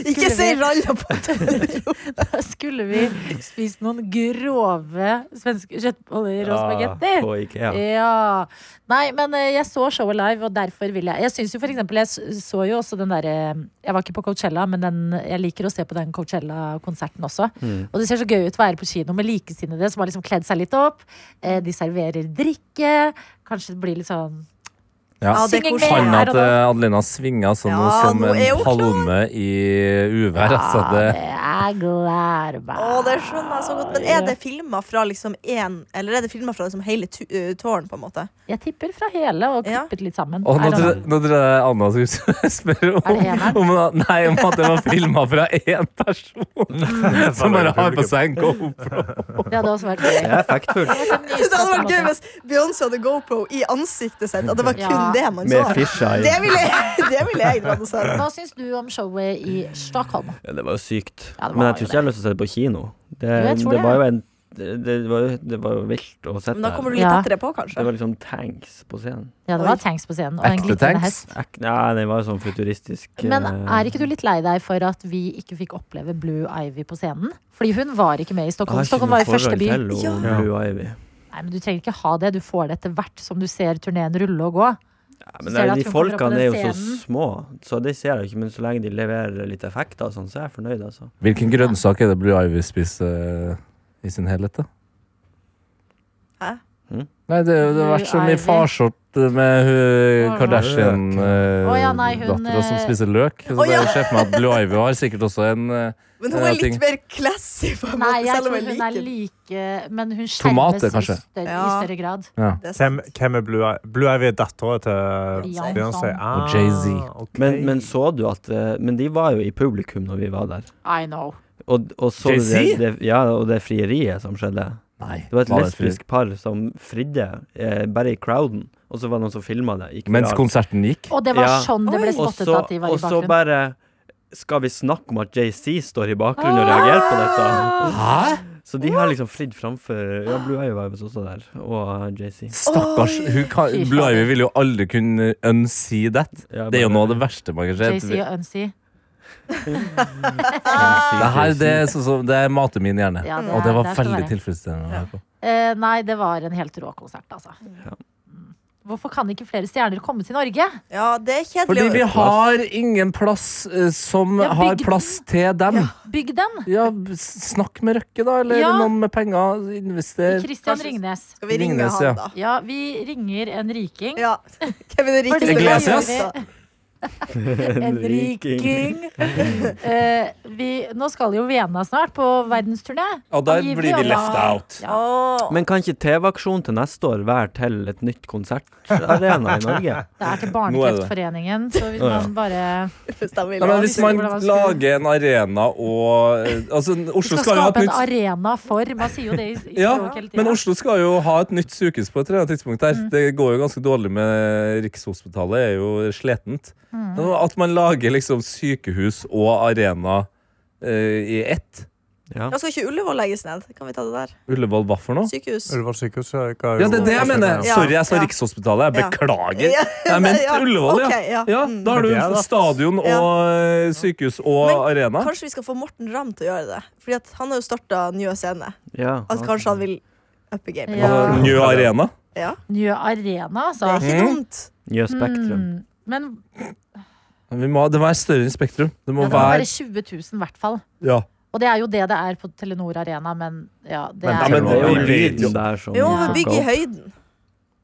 Speaker 5: Ikke si ralla på
Speaker 2: Da skulle vi spist noen grove svenske kjøttboller og spagetti.
Speaker 4: Ja, på Ikea.
Speaker 2: Ja. Nei, men eh, jeg så showet live, og derfor vil jeg Jeg syns jo for eksempel Jeg s- så jo også den derre Jeg var ikke på Coachella, men den, jeg liker å se på den Coachella-konserten også.
Speaker 3: Mm.
Speaker 2: Og det ser så gøy ut å være på kino med likesinnede som har liksom kledd seg litt opp. Eh, De serverer drikke. Kanskje det blir litt sånn
Speaker 3: Ja.
Speaker 5: Ja, det er
Speaker 2: Synging
Speaker 5: koselig.
Speaker 2: med
Speaker 3: Panna
Speaker 2: her og
Speaker 3: til
Speaker 2: da.
Speaker 3: eh, Adelina svinga sånn
Speaker 5: Ja,
Speaker 3: som
Speaker 5: nå
Speaker 3: en
Speaker 5: er hun klar.
Speaker 3: palme i uvær. Altså, det,
Speaker 2: Ja, det er glad
Speaker 5: Å, det skjønner jeg så godt. Men er det filmer fra liksom én Eller er det filmer fra liksom hele tu- eh, tårn, på en måte?
Speaker 2: Jeg tipper fra hele og
Speaker 5: Ja.
Speaker 2: klippet litt sammen.
Speaker 3: og nå
Speaker 2: I don't
Speaker 3: tror
Speaker 2: know.
Speaker 3: jeg- nå tror jeg Anna skulle spørre
Speaker 2: Er det
Speaker 3: om,
Speaker 2: eneren?
Speaker 3: om, nei, om at det var filma fra én person som bare har på seg en GoPro.
Speaker 2: Det hadde også vært gøy.
Speaker 4: Det er effektfullt.
Speaker 5: Det hadde vært gøy hvis Beyoncé hadde GoPro i ansiktet sitt, at det var kun
Speaker 2: Ja.
Speaker 5: det man så.
Speaker 4: Med fisha i.
Speaker 5: Det ville jeg, det vil jeg dratt og sett.
Speaker 2: Hva syns du om showet i Stockholm?
Speaker 4: Ja, det var jo sykt.
Speaker 2: Ja, det var
Speaker 4: Men jeg
Speaker 2: jo
Speaker 4: tror ikke jeg har lyst til å se det på kino. Det,
Speaker 2: jeg tror
Speaker 4: det
Speaker 2: det.
Speaker 4: var jo en det var, jo- det var jo vilt å se
Speaker 5: Men da
Speaker 4: det.
Speaker 5: kommer du litt
Speaker 2: Ja.
Speaker 5: tettere på, kanskje.
Speaker 4: Det var liksom tanks på scenen.
Speaker 2: Ja, det
Speaker 5: Oi.
Speaker 2: var tanks på scenen. Og en
Speaker 3: Ekte
Speaker 2: glitrende
Speaker 3: tanks?
Speaker 2: hest.
Speaker 4: Ek, nei, den var jo sånn futuristisk eh,
Speaker 2: Men er ikke du litt lei deg for at vi ikke fikk oppleve Blue Ivy på scenen? Fordi hun var ikke med i
Speaker 4: Ah,
Speaker 2: Stockholm. Stockholm var i første by.
Speaker 4: Til,
Speaker 5: Ja.
Speaker 4: ja. Blue Ivy.
Speaker 2: Nei, men Du trenger ikke ha det. Du får det etter hvert som du ser turneen rulle og gå.
Speaker 4: Ja, men
Speaker 2: Ser du at
Speaker 4: de
Speaker 2: hun kommer opp på
Speaker 4: folkene er
Speaker 2: den
Speaker 4: jo så
Speaker 2: scenen?
Speaker 4: små, så det ser jeg jo ikke. Men så lenge de leverer litt effekter, og sånn, så er jeg fornøyd, altså.
Speaker 3: Hvilken grønnsak er det Blue Ivy spiser eh, i sin helhet, da?
Speaker 5: Hæ?
Speaker 4: Hm?
Speaker 3: Nei, det, det har vært så
Speaker 2: Blue
Speaker 3: mye
Speaker 2: Ivy.
Speaker 3: farsott med
Speaker 2: Å,
Speaker 3: hun
Speaker 2: Å, ja, nei, hun,
Speaker 3: Kardashian-dattera som
Speaker 2: eh,
Speaker 3: spiser løk. Så
Speaker 5: Å,
Speaker 3: bare
Speaker 5: ja.
Speaker 3: sjef meg at Blue Ivy har sikkert også en eh,
Speaker 5: Men hun er
Speaker 3: ting.
Speaker 5: litt mer classy, på en
Speaker 2: Nei,
Speaker 5: måte,
Speaker 2: jeg
Speaker 5: selv
Speaker 2: tror
Speaker 5: om
Speaker 2: hun
Speaker 5: jeg
Speaker 2: er
Speaker 5: liker
Speaker 2: like Men hun
Speaker 3: Tomater,
Speaker 2: skjermes i
Speaker 3: kanskje?
Speaker 2: større, i
Speaker 5: Ja.
Speaker 2: større grad.
Speaker 5: det.
Speaker 6: Hvem, hvem er Blue Ivy? Blue Ivy er dattera til
Speaker 2: Beyoncé.
Speaker 6: Beyoncé. Ah,
Speaker 3: Og Jay-Z.
Speaker 6: ok.
Speaker 4: Men, men så du at eh, Men de var jo i publikum når vi var der.
Speaker 2: I know.
Speaker 4: Og, og så du
Speaker 3: Jay-Z?
Speaker 4: det, det, ja, og det frieriet som skjedde.
Speaker 3: Nei.
Speaker 4: Det var et
Speaker 3: hva er for-
Speaker 4: lesbisk par som fridde eh, bare i crowden, og så var det noen som filma det. Gikk
Speaker 3: Mens
Speaker 4: viralt.
Speaker 3: konserten gikk.
Speaker 2: Og det var
Speaker 4: Ja.
Speaker 2: sånn det ble
Speaker 4: og
Speaker 2: spottet
Speaker 4: så,
Speaker 2: at de var
Speaker 4: og
Speaker 2: i
Speaker 4: så
Speaker 2: bakgrunnen.
Speaker 4: bare skal vi snakke om at JC står i bakgrunnen og reagerer på dette?
Speaker 3: Hæ?
Speaker 4: Så de har liksom fridd framfor Ja, Blue Eye var jo også der, og JC.
Speaker 3: Stakkars. Hun kan,
Speaker 2: Fy
Speaker 3: Blue
Speaker 2: fader.
Speaker 3: Ivy vil jo aldri kunne unsee that.
Speaker 4: Ja,
Speaker 3: Det er jo
Speaker 4: bare-
Speaker 3: noe av det verste man kan skje.
Speaker 2: JC og Unsee.
Speaker 4: JC,
Speaker 3: Det her det er,
Speaker 4: JC.
Speaker 3: sånn som- det er mater min hjerne.
Speaker 2: Ja,
Speaker 3: Og
Speaker 2: er-
Speaker 3: det var
Speaker 2: er skal
Speaker 3: veldig
Speaker 2: være.
Speaker 3: tilfredsstillende. å høre på.
Speaker 2: Eh, nei, det var en helt rå konsert, altså.
Speaker 4: Ja.
Speaker 2: Mm. Hvorfor kan ikke flere stjerner komme til Norge?
Speaker 5: Ja, det er
Speaker 3: Fordi vi
Speaker 5: kjedelig.
Speaker 3: har ingen plass eh, som
Speaker 2: Ja,
Speaker 3: har
Speaker 2: bygg-
Speaker 3: plass til dem.
Speaker 2: Bygg den!
Speaker 3: Ja, s- snakk med Røkke, da, eller
Speaker 2: Ja.
Speaker 3: noen med penger.
Speaker 4: Eh,
Speaker 3: Invester.
Speaker 2: Christian
Speaker 5: Kanskje-
Speaker 2: Ringnes.
Speaker 5: Skal vi ringe
Speaker 3: Ringnes, ja.
Speaker 5: han, da?
Speaker 2: Ja, vi ringer en riking.
Speaker 5: Ja. Kevin er rikeste
Speaker 3: Iglesias?
Speaker 5: mannen,
Speaker 2: En riking. Eh, vi, nå skal jo Vienna snart på verdensturné.
Speaker 3: Og der
Speaker 2: Angivelig,
Speaker 3: blir vi
Speaker 2: ja.
Speaker 3: left out.
Speaker 5: da.
Speaker 2: Ja.
Speaker 5: Åh.
Speaker 4: Men kan ikke TV-aksjonen til neste år være til et nytt konsertarena i Norge?
Speaker 2: Det er til
Speaker 3: Nå er det.
Speaker 2: Barnekreftforeningen, så hvis
Speaker 4: Å, ja.
Speaker 2: man bare
Speaker 5: Hvis de vil
Speaker 3: Nei,
Speaker 5: ha
Speaker 3: men
Speaker 5: det.
Speaker 3: hvis man
Speaker 2: Hvordan man skulle-
Speaker 3: lager en arena og eh, Altså, Oslo
Speaker 2: skal
Speaker 3: skal jo ha
Speaker 2: skape
Speaker 3: et
Speaker 2: en
Speaker 3: nytt
Speaker 2: arena for Man sier jo det i, i
Speaker 3: ja,
Speaker 2: språk hele
Speaker 3: men
Speaker 2: tiden. Mm.
Speaker 3: Oslo skal jo ha et nytt sykehus på et eller annet tidspunkt. Der. Det går jo ganske dårlig med Rikshospitalet, er jo sletent.
Speaker 2: Mm.
Speaker 3: Men At man lager liksom sykehus og arena eh, i ett.
Speaker 4: Ja.
Speaker 5: Ja, skal ikke Ullevål legges ned? Kan vi ta det der?
Speaker 3: Ullevål, hva for noe?
Speaker 5: Sykehus.
Speaker 6: Ullevål sykehus eh, ga
Speaker 3: Ja, det er
Speaker 6: jo-
Speaker 3: det jeg mener.
Speaker 5: Ja,
Speaker 3: Sorry, jeg sa
Speaker 5: ja.
Speaker 3: Rikshospitalet. Jeg
Speaker 5: Ja.
Speaker 3: beklager.
Speaker 5: Ja,
Speaker 3: Jeg mente
Speaker 5: ja.
Speaker 3: Ullevål, ja.
Speaker 5: Ok, ja.
Speaker 3: Ja,
Speaker 5: Mm.
Speaker 3: Da har
Speaker 6: Det er
Speaker 3: du
Speaker 6: det.
Speaker 3: stadion og eh, sykehus og
Speaker 5: Men
Speaker 3: arena.
Speaker 5: Kanskje vi skal få Morten Ramm til å gjøre det. Fordi at han har jo starta Njø scene.
Speaker 4: Ja.
Speaker 5: At
Speaker 2: Altså,
Speaker 5: kanskje han vil uppe gamet.
Speaker 2: Ja.
Speaker 3: Njø Arena.
Speaker 5: Ja.
Speaker 2: Njø arena,
Speaker 5: Det
Speaker 2: altså.
Speaker 5: er ikke
Speaker 3: Mm.
Speaker 5: dumt.
Speaker 4: Nye Spektrum.
Speaker 2: Mm. Men
Speaker 3: Vi må, ha- det må være større enn Spektrum. Det
Speaker 2: ja,
Speaker 3: må
Speaker 2: det må
Speaker 3: være
Speaker 2: være 20 000 i hvert fall.
Speaker 3: ja.
Speaker 2: Og det er jo det det er på Telenor Arena, men ja, det er
Speaker 3: Men- Ja,
Speaker 4: Det
Speaker 3: men
Speaker 4: er jo
Speaker 3: vi vet jo-
Speaker 4: lyden der som
Speaker 5: Vi må
Speaker 4: som
Speaker 5: bygge
Speaker 4: skal
Speaker 5: i
Speaker 4: opp.
Speaker 5: høyden.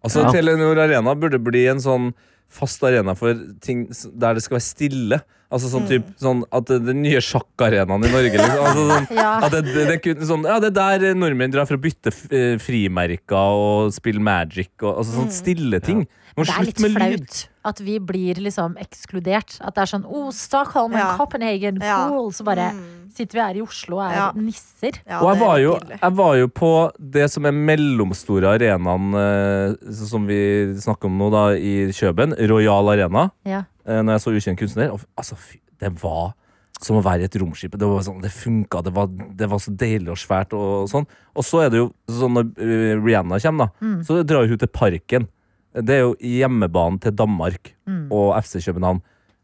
Speaker 3: Altså
Speaker 4: Ja.
Speaker 3: Telenor Arena burde bli en sånn fast arena for ting s- der det skal være stille. Altså
Speaker 5: Mm.
Speaker 3: sånn typ, sånn at det- den nye sjakkarenaen i Norge liksom. altså, sånn,
Speaker 2: Ja.
Speaker 3: at det, det, det, er kun sånn, ja, det er der nordmenn drar for å bytte f- eh, frimerker og spille magic. Og, altså sånn stille ting. Man
Speaker 2: Det
Speaker 3: må
Speaker 2: er litt
Speaker 3: slutte med lyd.
Speaker 2: flaut at vi blir liksom ekskludert. At det er sånn oh, Stockholm and
Speaker 5: Ja.
Speaker 2: Copenhagen,
Speaker 5: Ja.
Speaker 2: cool! Så bare
Speaker 5: Mm.
Speaker 2: sitter vi her i Oslo og er
Speaker 5: Ja.
Speaker 2: nisser.
Speaker 5: Ja,
Speaker 3: Og jeg
Speaker 5: det er
Speaker 3: var, jo,
Speaker 5: pinlig.
Speaker 3: jeg var jo på det som er mellomstore arenaen eh, så- som vi snakker om nå, da, i Kjøben. Royal Arena.
Speaker 2: Ja.
Speaker 3: Eh, når jeg så Ukjent kunstner. Og, f- altså, fy, det var som å være i et romskip. Det, var sånn, det funka, det var, det var så deilig og svært. Og, sånn. og så er det jo sånn når eh, Rihanna kommer, da, så drar hun til Parken. Det er jo hjemmebanen til Danmark og FC København.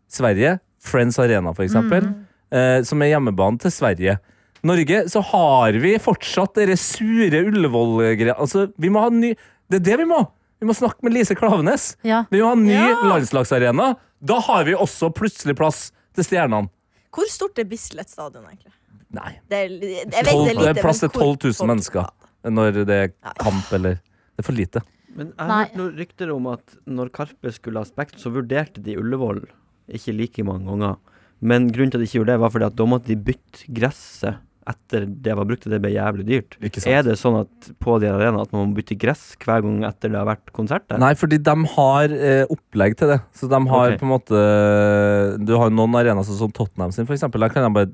Speaker 3: Sverige, Friends Arena for eksempel, eh, som er hjemmebanen til Sverige. Norge, så har vi fortsatt dere sure Ullevål-greia. Altså, vi må ha ny Det er det vi må! Vi må snakke med Lise Klavenes.
Speaker 2: Ja.
Speaker 3: Vi må ha en ny
Speaker 5: Ja.
Speaker 3: landslagsarena. Da har vi også plutselig plass til stjernene.
Speaker 5: Hvor stort er Bislett stadion, egentlig?
Speaker 3: Nei.
Speaker 5: Det er, jeg vet
Speaker 3: Tolv-
Speaker 5: det er lite,
Speaker 3: det er plass
Speaker 5: men
Speaker 3: til 12 000
Speaker 5: hvor-
Speaker 3: mennesker. Når det er kamp eller Det er for lite.
Speaker 4: Men jeg
Speaker 2: Nei.
Speaker 4: har hørt noen rykter om at når Karpe skulle ha Spekt, så vurderte de Ullevål ikke like mange ganger. Men grunnen til at de ikke gjorde det, var fordi at da måtte de bytte gresset etter det var brukt, og det ble jævlig dyrt.
Speaker 3: Ikke sant?
Speaker 4: Er det sånn at på de arenaene at man må bytte gress hver gang etter det har vært konsert der?
Speaker 3: Nei, fordi de har eh, opplegg til det. Så de har
Speaker 4: Ok.
Speaker 3: på en måte Du har jo noen arenaer sånn som Tottenham sin, for eksempel. Der kan de bare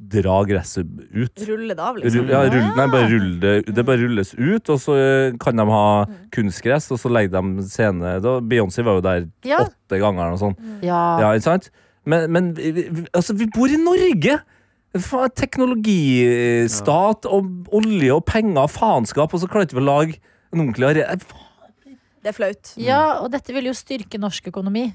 Speaker 3: dra gresset ut.
Speaker 5: Rulle det av, liksom.
Speaker 3: Rull, ja, rull, nei,
Speaker 4: Ah.
Speaker 3: bare rull det, det bare rulles ut, og så eh, kan de ha kunstgress, og så legger de scene da, Beyoncé var jo der
Speaker 2: Ja.
Speaker 3: åtte ganger eller noe sånt.
Speaker 2: Ja.
Speaker 3: Ja, ikke sant? Men, men vi- vi- altså, vi bor i Norge! Faen, Teknologistat og olje og penger og faenskap, og så klarer vi ikke å lage en ordentlig arena.
Speaker 5: Det er flaut.
Speaker 2: ja, og dette vil jo styrke norsk økonomi.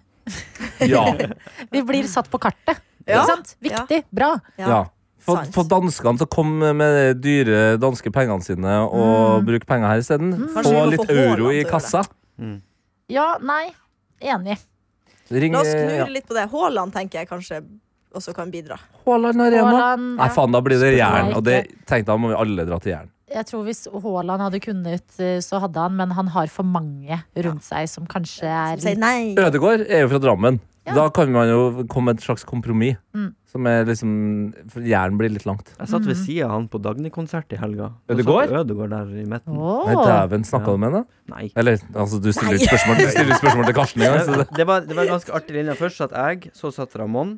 Speaker 3: Ja.
Speaker 2: Vi blir satt på kartet.
Speaker 5: Ja.
Speaker 2: Ikke sant? Viktig. Bra.
Speaker 3: Ja. For,
Speaker 5: Sant.
Speaker 3: for danskene som kom med de dyre danske pengene sine og bruk penger her isteden.
Speaker 5: Mm. Kanskje
Speaker 3: Få
Speaker 5: vi må
Speaker 3: litt
Speaker 5: få Haaland
Speaker 3: euro i
Speaker 5: til å gjøre
Speaker 3: kassa.
Speaker 2: Ja, nei. Enig.
Speaker 3: Ring
Speaker 5: La oss
Speaker 3: eh, ja.
Speaker 5: knure litt på det. Haaland tenker jeg kanskje også kan bidra.
Speaker 3: Haaland Arena.
Speaker 2: Haaland
Speaker 3: Nei, faen, da blir det
Speaker 2: Spør
Speaker 3: Jæren.
Speaker 2: meg
Speaker 3: Og det tenkte jeg, da må vi alle dra til Jæren.
Speaker 2: Jeg tror hvis Haaland hadde kunnet, eh, så hadde han, men han har for mange rundt seg som kanskje er
Speaker 5: Som sier nei.
Speaker 3: Ødegård er jo fra Drammen.
Speaker 2: Ja.
Speaker 3: Da kan man jo komme med et slags kompromiss.
Speaker 2: Mm.
Speaker 3: Som er liksom For Jæren blir litt langt.
Speaker 4: Jeg satt ved sida av han på Dagny-konsert i helga. Da
Speaker 3: Ødegaard?
Speaker 4: satt Ødegaard der i midten.
Speaker 2: Åh.
Speaker 3: Nei, dæven. Snakka
Speaker 4: Ja.
Speaker 3: du med henne?
Speaker 4: Nei.
Speaker 3: Eller altså, du stiller jo spørsmål, du stiller jo spørsmål til Karsten engang. Så det.
Speaker 4: Det, det, var, det var en ganske artig linje. Først satt jeg, så satt Ramón.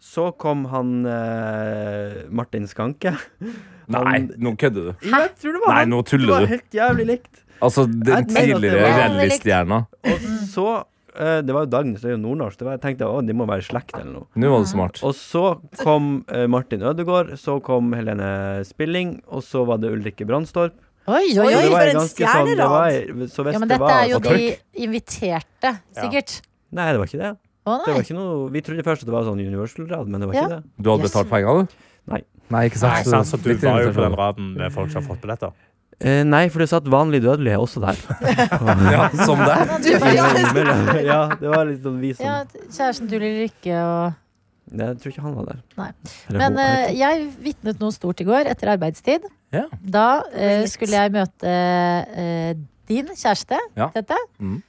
Speaker 4: Så kom han eh, Martin Skanke.
Speaker 3: Nei, nå kødder du.
Speaker 4: Jo, Jeg tror det var
Speaker 3: Nei,
Speaker 4: han.
Speaker 3: nå
Speaker 4: Det var
Speaker 3: tuller du.
Speaker 4: helt jævlig likt.
Speaker 3: Altså, den
Speaker 4: Jeg mener at det
Speaker 3: tidligere
Speaker 2: var-
Speaker 3: rallystjerna.
Speaker 4: Og så eh, Det var jo Dagny, så det er jo nordnorsk. Det var, jeg tenkte å, de må være i slekt eller noe.
Speaker 3: Nå var du smart.
Speaker 4: Og så kom eh, Martin Ødegaard, så kom Helene Spilling, og så var det Ulrikke Brandstorp.
Speaker 2: Oi, oi,
Speaker 5: Oi,
Speaker 4: Så
Speaker 2: oi.
Speaker 4: det var
Speaker 5: for en
Speaker 4: ganske sånn- det var- Så hvis
Speaker 2: Ja, men
Speaker 4: det
Speaker 2: dette
Speaker 4: var
Speaker 2: er jo
Speaker 4: folk-
Speaker 2: de inviterte, sikkert.
Speaker 4: Nei, det var ikke det.
Speaker 2: Å
Speaker 4: det
Speaker 2: nei.
Speaker 4: var ikke noe, vi trodde først at det var sånn universal-rad, men det var
Speaker 2: Ja.
Speaker 4: ikke det.
Speaker 3: Du hadde
Speaker 2: Yes.
Speaker 3: betalt penger, du?
Speaker 4: Nei.
Speaker 3: Nei, ikke sant.
Speaker 6: Nei, sant, så du
Speaker 3: Litt
Speaker 6: var jo på
Speaker 3: irritasjon.
Speaker 6: den raden med folk som har fått billetter.
Speaker 4: Eh, nei, for det satt vanlig dødelige også der.
Speaker 3: Ja, som deg.
Speaker 5: Du, ja,
Speaker 4: ja, det var litt sånn vi som
Speaker 2: Ja, kjæresten til Ulrikke og
Speaker 4: Nei, Jeg tror ikke han var der.
Speaker 2: Nei.
Speaker 4: Eller
Speaker 2: Men
Speaker 4: hun, jeg
Speaker 2: eh,
Speaker 4: vet ikke.
Speaker 2: jeg vitnet noe stort i går etter arbeidstid.
Speaker 3: Ja.
Speaker 2: Da eh,
Speaker 5: Ringet.
Speaker 2: skulle jeg møte eh, din kjæreste,
Speaker 3: Ja.
Speaker 2: Tete.
Speaker 3: Mm.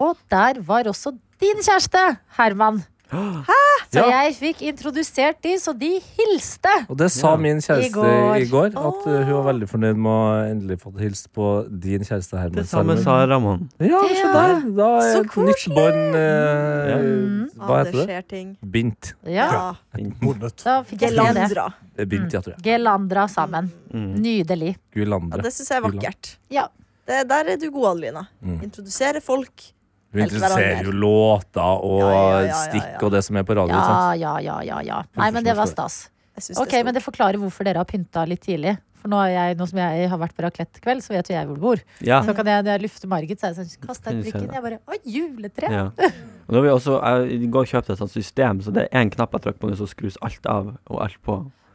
Speaker 2: Og der var også din kjæreste, Herman. Så
Speaker 3: Ja.
Speaker 2: jeg fikk introdusert de, så de hilste.
Speaker 3: Og det sa
Speaker 4: Ja.
Speaker 3: min
Speaker 2: I
Speaker 3: kjæreste
Speaker 2: går.
Speaker 3: i går, at uh, hun var veldig fornøyd med å endelig få hilse på din kjæreste Herman.
Speaker 4: Det samme
Speaker 3: Salmen.
Speaker 4: sa Ramón.
Speaker 3: Ja, se der! Da er
Speaker 5: Så Mm.
Speaker 3: et nytt bånd eh, Hva
Speaker 5: Ja, det
Speaker 3: heter det?
Speaker 5: skjer ting.
Speaker 3: Bint.
Speaker 2: Ja,
Speaker 5: Ja.
Speaker 6: Bonnet.
Speaker 2: da fikk jeg se det.
Speaker 5: Gelandra.
Speaker 3: Eh, Bint, ja, tror jeg.
Speaker 2: Gelandra sammen.
Speaker 4: Mm.
Speaker 2: Nydelig.
Speaker 5: Ja,
Speaker 3: Gulandre.
Speaker 5: det syns jeg er vakkert.
Speaker 2: Ja.
Speaker 5: Det, der er du god, Adelina.
Speaker 3: Mm.
Speaker 5: Introdusere folk.
Speaker 3: Hun
Speaker 5: helt hverandre.
Speaker 3: interesserer jo låter og
Speaker 5: Ja, ja, ja, ja, ja.
Speaker 3: stikk og det som er på radio.
Speaker 2: Ja,
Speaker 3: sant?
Speaker 2: ja, ja, ja, ja. Nei, men det var stas.
Speaker 5: Jeg synes
Speaker 2: Ok,
Speaker 5: det er
Speaker 2: men det forklarer hvorfor dere har pynta litt tidlig. For nå, har jeg, nå som jeg har vært på raclette-kveld, så vet jo jeg hvor du bor.
Speaker 4: Ja.
Speaker 2: Så kan jeg, når jeg lufter Margit, så er jeg sånn Kasta
Speaker 4: Kan
Speaker 2: ut
Speaker 4: du se
Speaker 2: brikken.
Speaker 4: det?
Speaker 2: Jeg bare Å, juletre!
Speaker 4: ja. Og nå har vi også, jeg i går kjøpte et sånt system, så det er én knapp jeg trykker på, og så skrus alt av og alt på.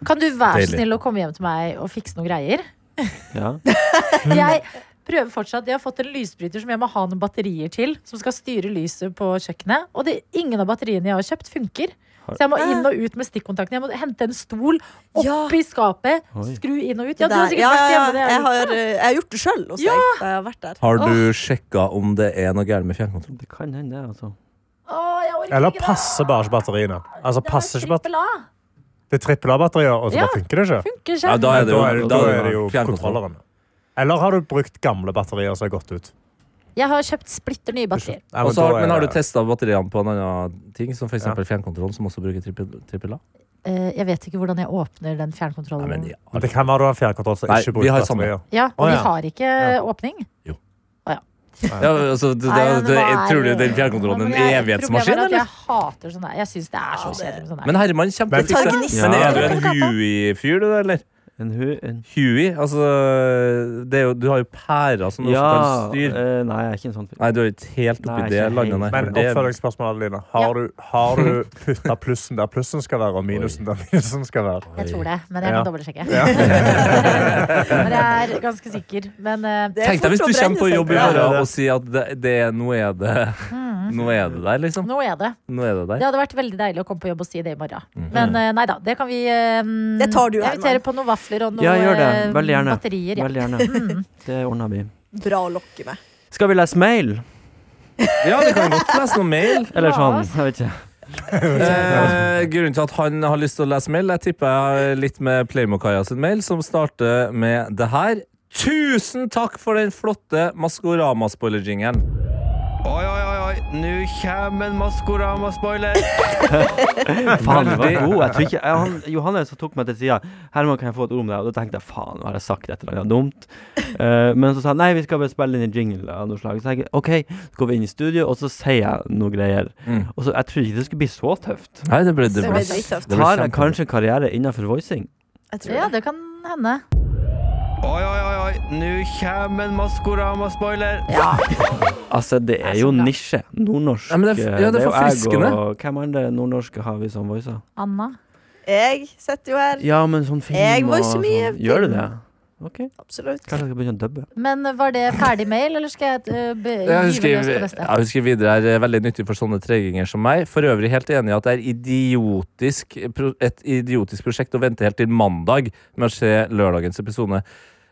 Speaker 2: Kan du være
Speaker 3: Deilig.
Speaker 2: så snill å komme hjem til meg og fikse noen greier?
Speaker 4: Ja.
Speaker 3: Mm.
Speaker 2: Jeg prøver fortsatt. Jeg har fått en lysbryter som jeg må ha noen batterier til. Som skal styre lyset på kjøkkenet. Og det, ingen av batteriene jeg har kjøpt, funker. Så jeg må inn og ut med stikkontakten. Jeg må hente en stol
Speaker 5: Ja.
Speaker 2: oppi skapet,
Speaker 4: Oi.
Speaker 2: skru inn og ut. Ja,
Speaker 5: der.
Speaker 2: du har sikkert
Speaker 5: ja, ja,
Speaker 2: vært
Speaker 5: ja.
Speaker 2: hjemme. Det
Speaker 5: Jeg,
Speaker 2: er-
Speaker 5: har, eh, jeg har gjort det sjøl hos
Speaker 2: Ja.
Speaker 5: deg. Da jeg har vært der.
Speaker 3: Har du sjekka om det er noe gærent med fjernkontrollen?
Speaker 4: Det kan hende, det, altså.
Speaker 2: Å, jeg orker
Speaker 6: Eller
Speaker 2: ikke det.
Speaker 6: passer bare ikke batteriene. Altså,
Speaker 2: Det er
Speaker 6: passer ikke batter
Speaker 2: trippel A.
Speaker 6: det er trippel A-batterier, og så
Speaker 2: Ja.
Speaker 6: bare funker det ikke.
Speaker 2: Funker
Speaker 3: Ja,
Speaker 2: selv.
Speaker 3: da er det jo,
Speaker 6: da er
Speaker 3: da
Speaker 6: det, da er det jo
Speaker 3: fjernkontrollen.
Speaker 6: kontrolleren. Eller har du brukt gamle batterier som har gått ut?
Speaker 2: Jeg har kjøpt splitter nye batterier.
Speaker 6: Nei,
Speaker 3: Og så
Speaker 6: da
Speaker 3: har-
Speaker 6: er
Speaker 3: Men har du
Speaker 6: det-
Speaker 3: testa batteriene på en annen ting, som f.eks.
Speaker 6: Ja.
Speaker 3: fjernkontrollen, som også bruker trippel- trippel A?
Speaker 2: Eh, jeg vet ikke hvordan jeg åpner den fjernkontrollen.
Speaker 3: Nei, men ja.
Speaker 6: Men det kan være du har fjernkontroll som
Speaker 3: Nei,
Speaker 6: ikke
Speaker 3: vi har
Speaker 6: bruker
Speaker 3: samme.
Speaker 6: batterier.
Speaker 2: Ja, og
Speaker 6: Å,
Speaker 2: vi
Speaker 6: ja.
Speaker 2: har ikke åpning.
Speaker 3: Ja, altså, det, det,
Speaker 2: Nei,
Speaker 3: det,
Speaker 2: men hva er-
Speaker 3: tror du den fjernkontrollen
Speaker 2: Nei,
Speaker 3: er
Speaker 2: men jeg-
Speaker 3: en evighetsmaskin,
Speaker 2: problemet er at
Speaker 3: eller?
Speaker 2: Jeg hater sånne Jeg syns det er så
Speaker 5: Ja, det-
Speaker 2: kjedelig med sånn sånne
Speaker 3: Men Herman kommer
Speaker 6: Men-
Speaker 3: til å fikse det.
Speaker 5: Ja.
Speaker 3: Men er
Speaker 2: Ja.
Speaker 3: du en Huey-fyr, du, eller?
Speaker 4: En hu... En
Speaker 3: Huey? Altså, det er jo, du har jo pærer som du
Speaker 4: ja
Speaker 3: også kan styre.
Speaker 4: eh, Nei, jeg er ikke en sånn fyr.
Speaker 3: Nei, du er ikke helt oppi
Speaker 4: Nei,
Speaker 3: det
Speaker 4: ikke
Speaker 3: landet, nei.
Speaker 6: Men
Speaker 3: for det,
Speaker 6: oppfølgingsspørsmål, Adeline. Har
Speaker 2: Ja.
Speaker 6: du, har du putta plussen der plussen skal være, og minusen der minusen skal være?
Speaker 2: Jeg tror det, men jeg må
Speaker 6: Ja.
Speaker 2: dobbeltsjekke.
Speaker 6: Ja.
Speaker 2: men jeg er ganske sikker. Men eh,
Speaker 5: Det er
Speaker 3: Tenk deg hvis
Speaker 5: fort
Speaker 3: du
Speaker 5: å brenne
Speaker 3: kommer på
Speaker 5: seg Mm.
Speaker 3: jobb i
Speaker 5: på.
Speaker 6: Ja,
Speaker 3: morgen
Speaker 6: det er
Speaker 3: og sier at det, det, nå, er det, nå er det der, liksom.
Speaker 2: nå er det.
Speaker 3: Nå er det
Speaker 2: Det
Speaker 3: der.
Speaker 2: hadde vært veldig deilig å komme på jobb og si det i morgen. Men eh, nei da, det kan vi eh,
Speaker 5: Det tar du, Herman.
Speaker 2: invitere på noen vafler og noen
Speaker 4: Ja, gjør det.
Speaker 2: eh,
Speaker 4: Veldig gjerne.
Speaker 2: batterier. Ja. Mm.
Speaker 4: Veldig gjerne. Det ordner vi.
Speaker 5: Bra å lokke med.
Speaker 4: Skal vi lese mail?
Speaker 3: Ja, vi kan godt lese noe mail.
Speaker 4: Eller
Speaker 2: Ja,
Speaker 4: sånn,
Speaker 2: altså.
Speaker 4: jeg vet ikke.
Speaker 3: Eh, grunnen til at han har lyst til å lese mail, jeg tipper jeg har litt med Playmokaia sin mail, som starter med det her. Tusen takk for den flotte Maskorama-spoiler-jingeren.
Speaker 4: Oi, oi, oi, oi. nå kommer en Maskorama-spoiler! faen, den var
Speaker 3: Veldig.
Speaker 4: god. Jeg tror ikke, jeg, han, Johannes som tok meg til sida. 'Herman, kan jeg få et ord om det?' Og da tenkte jeg faen, nå har jeg sagt et eller annet dumt? Eh, men så sa han nei, vi skal bare spille inn en jingle av noe slag. Så tenkte jeg OK, så går vi inn i studio, og så sier jeg noe greier.
Speaker 3: Mm.
Speaker 4: Og så, Jeg tror ikke det skulle bli så tøft.
Speaker 3: Nei, det ble, det
Speaker 5: Det
Speaker 3: ble,
Speaker 5: ble drittøft.
Speaker 3: det ble
Speaker 4: Har jeg
Speaker 3: kjempe-
Speaker 4: kanskje en karriere innenfor voicing?
Speaker 5: Jeg tror
Speaker 2: Ja,
Speaker 5: det.
Speaker 2: det kan hende.
Speaker 4: Oi, oi, oi, oi, nå kommer en Maskorama-spoiler! Altså, det er jo nisje. Nordnorsk.
Speaker 3: Ja, men det er f- ja, det er
Speaker 4: jo jeg
Speaker 3: forfriskende.
Speaker 4: og- Hvem andre nordnorske har vi som voicer?
Speaker 2: Anna.
Speaker 5: Jeg sitter jo her.
Speaker 4: Ja, men sånn film
Speaker 5: Jeg
Speaker 4: og
Speaker 5: voicer mye
Speaker 4: sånn. Gjør du
Speaker 5: film.
Speaker 4: det? Ok,
Speaker 5: Absolutt.
Speaker 4: kanskje jeg skal begynne å dubbe.
Speaker 2: Men var det ferdig mail, eller skal jeg eh, be-
Speaker 3: Ja, hun,
Speaker 2: gyve løs på
Speaker 3: skriver,
Speaker 2: neste?
Speaker 3: ja, hun skriver videre her, eh, veldig nyttig for sånne treginger som meg. For øvrig helt enig i at det er idiotisk, pro- et idiotisk prosjekt å vente helt til mandag med å se lørdagens episode.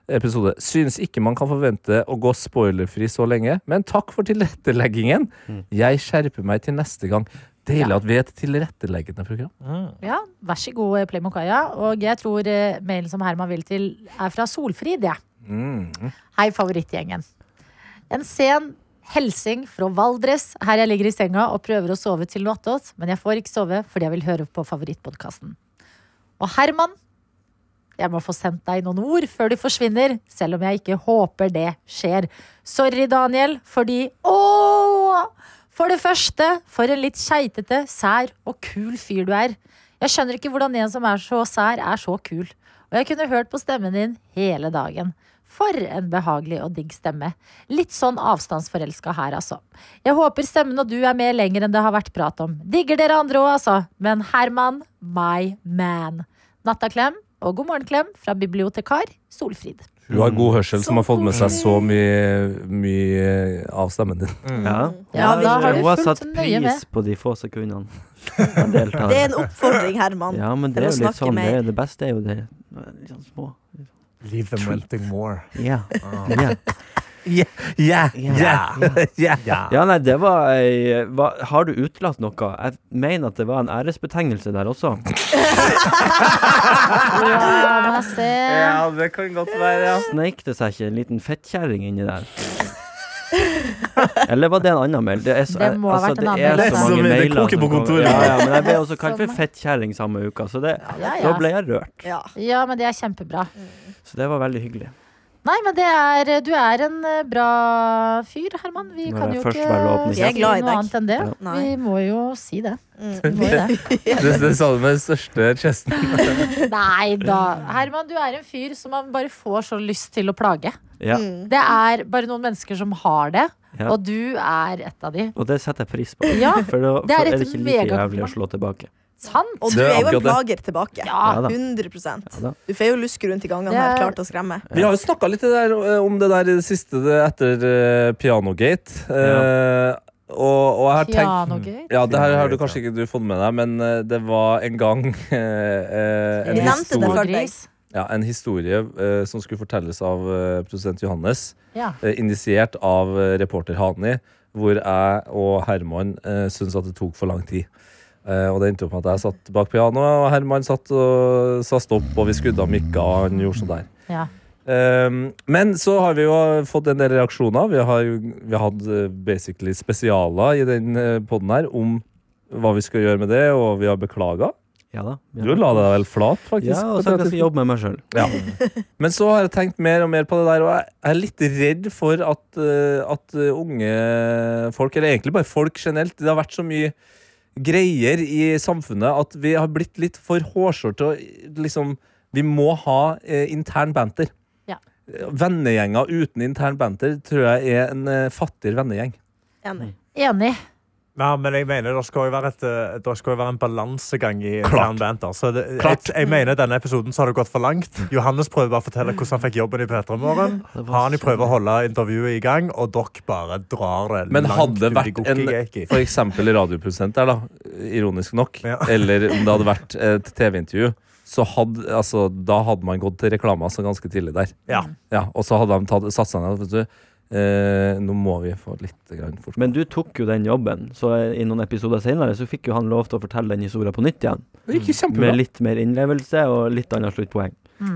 Speaker 3: episode. Synes ikke man kan forvente å gå spoilerfri så lenge, men takk for tilretteleggingen. Jeg skjerper meg til neste gang. Deilig
Speaker 2: Ja.
Speaker 3: at vi er et tilretteleggende program.
Speaker 2: Ja, vær så god, Playmokaia. Og jeg tror eh, mailen som Herman vil til, er fra Solfrid, jeg. Hei, favorittgjengen. En sen helsing fra Valdres, her jeg ligger i senga og prøver å sove til nattåt, men jeg får ikke sove fordi jeg vil høre på favorittpodkasten. Og Herman, jeg må få sendt deg noen ord før du forsvinner, selv om jeg ikke håper det skjer. Sorry, Daniel, fordi Åh! For det første, for en litt keitete, sær og kul fyr du er. Jeg skjønner ikke hvordan en som er så sær, er så kul. Og jeg kunne hørt på stemmen din hele dagen. For en behagelig og digg stemme. Litt sånn avstandsforelska her, altså. Jeg håper stemmen og du er med lenger enn det har vært prat om. Digger dere andre òg, altså. Men Herman, my man. Nattaklem og god morgenklem fra bibliotekar Solfrid.
Speaker 3: Hun har god hørsel som har fått med seg så
Speaker 5: koselig.
Speaker 3: mye, mye av stemmen din.
Speaker 4: Ja.
Speaker 2: Ja, da har du
Speaker 4: Hun har
Speaker 2: fulgt
Speaker 4: satt
Speaker 2: nøye med.
Speaker 4: pris på de få sekundene. hun deltar.
Speaker 5: Det er en oppfordring, Herman.
Speaker 4: Ja, men det er
Speaker 5: Eller
Speaker 4: jo litt
Speaker 5: snakke
Speaker 4: sånn, det,
Speaker 5: mer.
Speaker 4: er- det beste er jo det litt sånn små.
Speaker 6: Leave them wanting more.
Speaker 4: Ja. ja.
Speaker 3: Yeah,
Speaker 4: yeah, Ja, nei, det var ei hva, Har du utelatt noe? Jeg mener at det var en æresbetegnelse der også.
Speaker 5: Ah.
Speaker 2: Ja, må jeg se.
Speaker 3: det kan godt være, ja.
Speaker 4: Sneik det seg ikke en liten fettkjerring inni der? Eller var det en annen mail? Det, er så,
Speaker 2: Det må ha vært en annen mail,
Speaker 4: Det er
Speaker 2: altså.
Speaker 3: Det er så
Speaker 4: så mange
Speaker 3: mye- det
Speaker 4: mailer
Speaker 3: koker
Speaker 4: som
Speaker 3: på
Speaker 4: kommer.
Speaker 3: kontoret.
Speaker 4: Ja, ja, men jeg ble også
Speaker 2: Så
Speaker 4: kalt for
Speaker 2: mange.
Speaker 4: fettkjerring samme uka, så det,
Speaker 2: Ja,
Speaker 4: da
Speaker 2: ja.
Speaker 4: ble jeg rørt.
Speaker 5: Ja.
Speaker 2: ja, men det er kjempebra.
Speaker 4: Så det var veldig hyggelig.
Speaker 2: Nei, men det er, du er en eh, bra fyr, Herman. Vi
Speaker 4: Når
Speaker 2: kan
Speaker 4: jeg
Speaker 2: jo
Speaker 4: først
Speaker 2: ikke
Speaker 4: velger å åpne
Speaker 2: si
Speaker 5: kjeft. Jeg er glad i
Speaker 2: noe
Speaker 5: deg.
Speaker 2: annet enn det.
Speaker 5: Ja.
Speaker 2: Vi
Speaker 5: Nei.
Speaker 2: må jo si det. Vi
Speaker 5: Mm.
Speaker 2: må jo det.
Speaker 3: Det, det sa du med den største kjesten.
Speaker 2: Nei da. Herman, du er en fyr som man bare får så lyst til å plage.
Speaker 4: Ja,
Speaker 5: Mm.
Speaker 2: Det er bare noen mennesker som har det,
Speaker 4: Ja.
Speaker 2: og du er et av de.
Speaker 4: og det setter jeg pris på.
Speaker 2: Ja,
Speaker 4: For da for
Speaker 2: Det er
Speaker 4: er,
Speaker 2: et
Speaker 4: det ikke like
Speaker 2: mega-
Speaker 4: jævlig å slå tilbake.
Speaker 2: sant?
Speaker 5: Og du
Speaker 3: Det er
Speaker 5: er jo en
Speaker 3: akkurat det.
Speaker 5: plager tilbake.
Speaker 2: Ja.
Speaker 4: Ja da.
Speaker 5: 100
Speaker 4: da.
Speaker 5: Du får jo luske rundt i gangene
Speaker 2: Det er-
Speaker 5: her, klart å skremme.
Speaker 3: Vi har jo snakka litt det der, eh, om det der i det siste det etter eh, Pianogate. Eh, og, og jeg har tenkt
Speaker 2: Pianogøy.
Speaker 3: ja, det her har du
Speaker 6: Pianogate,
Speaker 3: kanskje ikke du fått med deg, men eh, det var en gang eh, eh,
Speaker 5: Vi
Speaker 3: en,
Speaker 5: nevnte det
Speaker 3: historie,
Speaker 5: før. deg.
Speaker 2: Smågris.
Speaker 3: ja, en historie eh, som skulle fortelles av eh, produsent Johannes.
Speaker 2: Ja.
Speaker 3: eh, initiert av eh, reporter Hani, hvor jeg og Herman eh, syntes at det tok for lang tid. Eh, og det endte opp med at jeg satt bak pianoet, og Herman satt og sa stopp, og vi skrudde av mikka, og han gjorde sånn der.
Speaker 2: Ja.
Speaker 3: Um, men så har vi jo fått en del reaksjoner. Vi har, jo- vi har hatt eh, basically spesialer i den eh, podden her om hva vi skal gjøre med det, og vi har beklaga.
Speaker 4: Ja da.
Speaker 3: Du la deg vel flat, faktisk.
Speaker 4: Ja,
Speaker 3: på
Speaker 4: og så
Speaker 3: det
Speaker 4: skal jeg
Speaker 3: tidspunktet.
Speaker 4: jobbe med meg sjøl.
Speaker 3: Ja. Men så har jeg tenkt mer og mer på det der, og jeg er litt redd for at, eh, at eh, unge folk, eller egentlig bare folk generelt, det har vært så mye greier i samfunnet at vi har blitt litt for hårsårte og liksom Vi må ha eh, intern banter.
Speaker 2: Ja.
Speaker 3: Eh, Vennegjenger uten intern banter tror jeg er en eh, fattigere vennegjeng.
Speaker 5: Enig.
Speaker 2: Enig.
Speaker 6: Nei, men jeg mener det skal jo være, et, eh, det skal jo være en balansegang i
Speaker 3: Klart.
Speaker 6: Clan Banter. Så det, jeg,
Speaker 3: Klart.
Speaker 6: jeg mener denne episoden så har det gått for langt. Johannes prøver bare å fortelle hvordan han fikk jobben i P3 Morgen. Hani prøver å holde intervjuet i gang, og dere bare drar det
Speaker 3: Men hadde
Speaker 6: langt
Speaker 3: det
Speaker 6: ut i
Speaker 3: vært en
Speaker 6: gokkigeki.
Speaker 3: for eksempel radioprodusent der, da, ironisk nok,
Speaker 6: Ja.
Speaker 3: eller om det hadde vært et TV-intervju, så hadde, altså, da hadde man gått til reklame altså, ganske tidlig der.
Speaker 6: Ja.
Speaker 3: Ja, og så hadde de tatt, satt seg ned og vet du, Eh, nå må vi få litt grann fort.
Speaker 4: Men du tok jo den jobben, så i noen episoder senere så fikk jo han lov til å fortelle den historien på nytt igjen.
Speaker 3: det gikk jo
Speaker 4: Med
Speaker 3: kjempebra.
Speaker 4: litt mer innlevelse og litt annet sluttpoeng.
Speaker 2: Mm.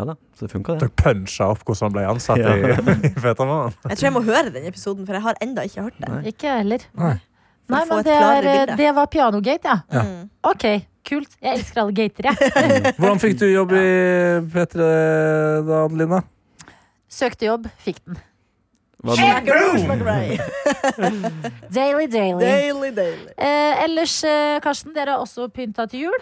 Speaker 4: Ja da, så det funka, det.
Speaker 6: Dere puncha opp hvordan han ble ansatt
Speaker 4: Ja.
Speaker 6: i, i Fettermannen.
Speaker 5: Jeg tror jeg må høre den episoden, for jeg har enda ikke hørt den.
Speaker 4: Nei.
Speaker 2: Ikke jeg heller.
Speaker 3: Nei.
Speaker 5: For
Speaker 2: Nei,
Speaker 5: å få
Speaker 2: men
Speaker 5: et
Speaker 2: det, er,
Speaker 5: klarere
Speaker 2: eh,
Speaker 5: bilde.
Speaker 2: det var pianogate, ja.
Speaker 3: Ja.
Speaker 5: Mm.
Speaker 2: Ok, kult. Jeg elsker alle gater, jeg.
Speaker 3: Hvordan fikk du jobb i P3 da, Lina?
Speaker 2: Søkte jobb, fikk den.
Speaker 4: Var det noe-
Speaker 2: Daily, daily.
Speaker 5: Daily, daily.
Speaker 2: Eh, ellers, eh, Karsten, dere har også pynta til jul.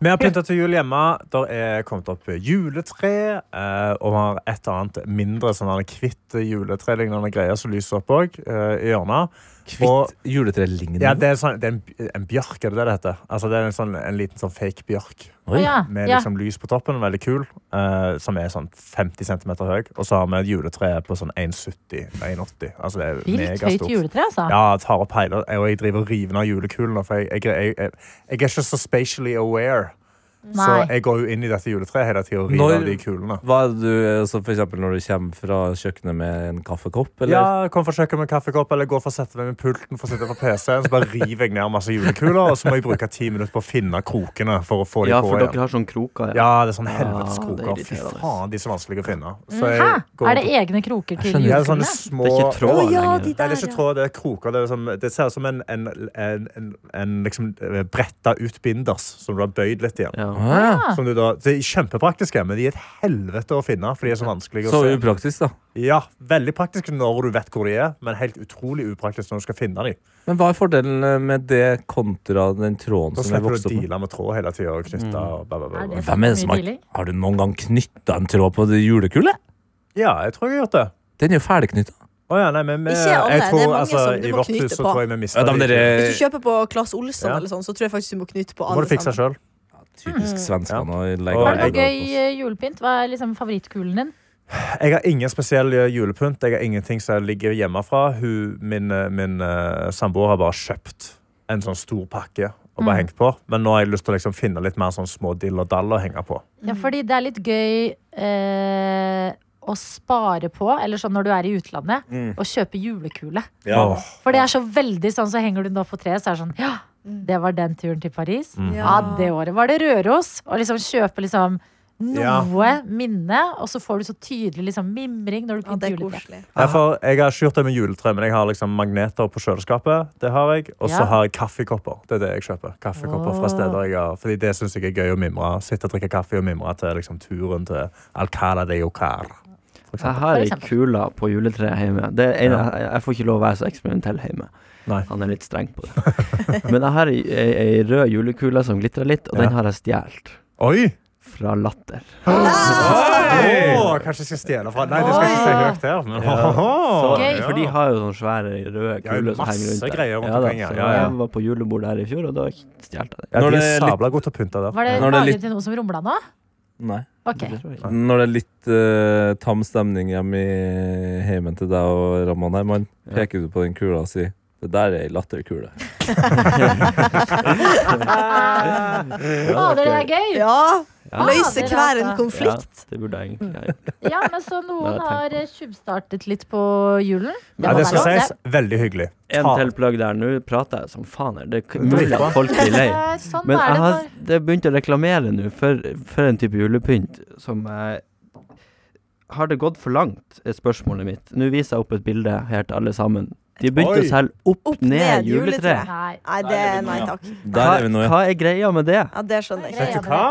Speaker 6: Vi har pynta til jul hjemme. Der er kommet opp juletre. eh, Og vi har et og annet mindre sånn her kvitt juletrelignende greier som lyser opp òg, i hjørnet. Og-
Speaker 3: Kvitt juletrelignende?
Speaker 6: Ja, det er, sånn, det er en, en bjørk, er det det det heter? Altså, det er en, sånn, en liten sånn fake bjørk
Speaker 2: Å
Speaker 3: Oi.
Speaker 2: ja,
Speaker 6: med
Speaker 2: ja.
Speaker 6: liksom lys på toppen. Veldig kul. eh, som er sånn 50 cm høy. Og så har vi et juletre på sånn 1,70-1,80. Altså, det er
Speaker 2: Vilt høyt
Speaker 6: megastort.
Speaker 2: juletre, altså.
Speaker 6: Ja, jeg tar opp hele Og jeg driver og river ned julekulene, for jeg, jeg, jeg, jeg, jeg er ikke så spatially aware. Så
Speaker 2: Nei.
Speaker 6: jeg går jo inn i dette juletreet hele tiden og river
Speaker 3: Når-
Speaker 6: av de kulene.
Speaker 3: Hva er det du, eh, så for eksempel når du kommer fra kjøkkenet med en kaffekopp,
Speaker 6: Ja,
Speaker 3: eller?
Speaker 6: kom for å kjøkke med en kaffekopp Eller gå for å sette meg med pulten For å sitte på PC-en Så bare river jeg ned masse julekuler Og så må jeg bruke ti minutter på å finne krokene For å få de
Speaker 4: Ja,
Speaker 6: på
Speaker 4: for
Speaker 6: igjen
Speaker 4: dere har sånn kroker, ja.
Speaker 6: Ja, det er sånn
Speaker 4: Ja, det
Speaker 6: helvetes
Speaker 4: er
Speaker 6: kroker Fy
Speaker 4: irriterende.
Speaker 6: faen, de er så vanskelige å finne Så jeg
Speaker 2: Hæ?
Speaker 6: går
Speaker 2: Er det
Speaker 6: rundt-
Speaker 2: egne kroker til
Speaker 3: skjønner.
Speaker 6: Ja, det er sånn
Speaker 2: julekulene?
Speaker 6: sånne små
Speaker 4: Det er ikke tråd
Speaker 5: Å, ja, de
Speaker 4: lenger.
Speaker 6: Nei, det er
Speaker 5: Der,
Speaker 6: ikke
Speaker 5: ja.
Speaker 6: tråd, det er kroker Det, er som, det ser ut som en, en, en, en, en liksom eh, bretta ut binders Som du har bøyd litt igjen
Speaker 4: Ja.
Speaker 3: Ah,
Speaker 2: Ja.
Speaker 6: Som du da, det er kjempepraktiske, men de er et helvete å finne For de er så vanskelige å
Speaker 3: så
Speaker 6: se
Speaker 3: upraktisk, da.
Speaker 6: Ja, veldig praktiske når du vet hvor de er Men helt utrolig upraktisk når du skal finne dem
Speaker 3: Men hva er fordelen eh, med det kontra den tråden
Speaker 6: Da
Speaker 3: som jeg
Speaker 6: slipper du
Speaker 3: vokste opp med?
Speaker 6: å
Speaker 3: Mm.
Speaker 6: deale med tråd hele tida og knytte og bla, bla, bla.
Speaker 2: Er
Speaker 6: bla.
Speaker 2: det
Speaker 3: Hvem er det som
Speaker 2: mye
Speaker 3: har,
Speaker 2: dealing?
Speaker 3: har du noen gang knytta en tråd på det julekulet?
Speaker 6: Ja, jeg tror jeg har gjort det.
Speaker 3: Den er jo ferdigknytta.
Speaker 6: Å ja, nei, men vi-
Speaker 5: Ikke alle,
Speaker 6: jeg
Speaker 5: det er
Speaker 6: tror,
Speaker 5: mange
Speaker 6: altså,
Speaker 5: som du
Speaker 6: I
Speaker 5: må
Speaker 6: vårt
Speaker 5: knyte
Speaker 6: hus så
Speaker 5: på.
Speaker 6: tror jeg vi mista
Speaker 3: Ja, da, men dere-
Speaker 5: Hvis du kjøper på Claes Olsson,
Speaker 6: Ja.
Speaker 5: eller sånn, så tror jeg faktisk du må knytte på
Speaker 6: Det må
Speaker 5: alle
Speaker 6: du fikse
Speaker 5: sammen.
Speaker 6: sjøl.
Speaker 3: Typisk svenskene. å legge
Speaker 6: Og
Speaker 2: Var det
Speaker 3: alle
Speaker 2: Mm. noe
Speaker 3: dager
Speaker 2: gøy
Speaker 3: på oss.
Speaker 2: eh, julepynt? Hva er liksom favorittkulen din?
Speaker 6: Jeg har ingen spesiell eh, julepynt. Jeg har ingenting som ligger hjemmefra. Hun, min eh, min eh, samboer har bare kjøpt en sånn stor pakke og
Speaker 5: Mm.
Speaker 6: bare hengt på. Men nå har jeg lyst til å liksom finne litt mer sånn små dill og dall å henge på.
Speaker 5: Mm.
Speaker 2: Ja, fordi det er litt gøy eh, å spare på, eller sånn når du er i utlandet,
Speaker 6: Mm.
Speaker 2: å kjøpe julekule.
Speaker 6: Åh,
Speaker 2: For det er så veldig sånn, så henger du den opp på treet, så er det sånn Ja,
Speaker 5: Mm.
Speaker 2: det var den turen til Paris. Ja, det året var det Røros. Og liksom kjøpe liksom noe minne, og så får du så tydelig liksom mimring når du
Speaker 5: Ja, det
Speaker 2: pynter
Speaker 5: er
Speaker 2: juletreet.
Speaker 5: koselig.
Speaker 6: Ja, for jeg har ikke gjort det med juletre, men jeg har liksom magneter på kjøleskapet. Det har jeg, Og så
Speaker 2: Ja.
Speaker 6: har jeg kaffekopper. Det er det jeg kjøper. Kaffekopper
Speaker 2: Åh.
Speaker 6: fra steder jeg har Fordi det syns jeg er gøy å mimre. Sitte og drikke kaffe og mimre til liksom, turen til Alcala de Ocar.
Speaker 4: Jeg har
Speaker 2: For
Speaker 4: ei
Speaker 2: eksempel.
Speaker 4: kule på juletreet hjemme. Det er en, jeg, jeg får ikke lov å være så eksperimentell hjemme.
Speaker 6: Nei.
Speaker 4: Han er litt streng på det. Men jeg har ei, ei, ei rød julekule som glitrer litt, og den
Speaker 6: Ja.
Speaker 4: har jeg stjålet
Speaker 6: Oi!
Speaker 4: fra Latter.
Speaker 6: Åh, kanskje jeg skal stjele fra Nei, det skal jeg ikke si høyt her. Men,
Speaker 4: Så,
Speaker 2: Gøy.
Speaker 4: For de har jo sånne svære røde
Speaker 6: Ja,
Speaker 4: kuler som henger
Speaker 6: masse
Speaker 4: rundt der.
Speaker 6: greier rundt
Speaker 4: da,
Speaker 6: omkring, ja.
Speaker 4: så
Speaker 6: Ja, ja.
Speaker 4: Jeg var på julebord der i fjor, og da stjal jeg den.
Speaker 6: ja,
Speaker 3: Når
Speaker 6: de
Speaker 3: det
Speaker 6: er
Speaker 3: er litt-
Speaker 6: sabla gode til å pynte der.
Speaker 2: Var det
Speaker 3: Når det er
Speaker 2: magen
Speaker 3: litt-
Speaker 2: til noen som rumla nå?
Speaker 3: Nei.
Speaker 2: Ok.
Speaker 4: Det tror jeg ikke.
Speaker 3: Når det er litt eh, tam stemning hjemme i heimen til deg og Ramón her, mann, peker du på den kula og sier det der er ei latterkule.
Speaker 2: Fader, det er gøy!
Speaker 5: Ja!
Speaker 4: Ja.
Speaker 5: Løse
Speaker 2: Fader,
Speaker 5: hver en
Speaker 2: altså.
Speaker 5: konflikt.
Speaker 4: Ja, det burde jeg egentlig ha gjort.
Speaker 2: Ja, men så
Speaker 4: Nå
Speaker 2: noen
Speaker 4: har jeg
Speaker 2: har
Speaker 4: tenkt
Speaker 2: eh, tjuvstartet litt på julen. må
Speaker 6: Ja, det
Speaker 2: være
Speaker 6: skal
Speaker 2: lov,
Speaker 6: sies. Veldig hyggelig.
Speaker 4: En
Speaker 6: Ta-
Speaker 4: til plugg der. Nå prater jeg som faen her. Det er mulig at folk
Speaker 2: det.
Speaker 4: blir lei.
Speaker 2: Eh, Sånn
Speaker 4: Men
Speaker 2: er
Speaker 4: jeg
Speaker 2: det
Speaker 4: har
Speaker 2: når
Speaker 4: det er begynt å reklamere nå for, for en type julepynt som jeg Har det gått for langt, er spørsmålet mitt. Nå viser jeg opp et bilde her til alle sammen. De begynte
Speaker 6: Oi.
Speaker 4: å selge opp,
Speaker 5: Opp
Speaker 4: ned,
Speaker 5: ned
Speaker 4: juletre.
Speaker 5: juletre.
Speaker 2: Nei.
Speaker 5: Nei, det er nei takk.
Speaker 3: Der er vi nå,
Speaker 4: hva,
Speaker 3: ja.
Speaker 4: hva er greia med det?
Speaker 5: Ja, det skjønner jeg
Speaker 2: Greit.
Speaker 5: ikke.
Speaker 6: Vet du hva?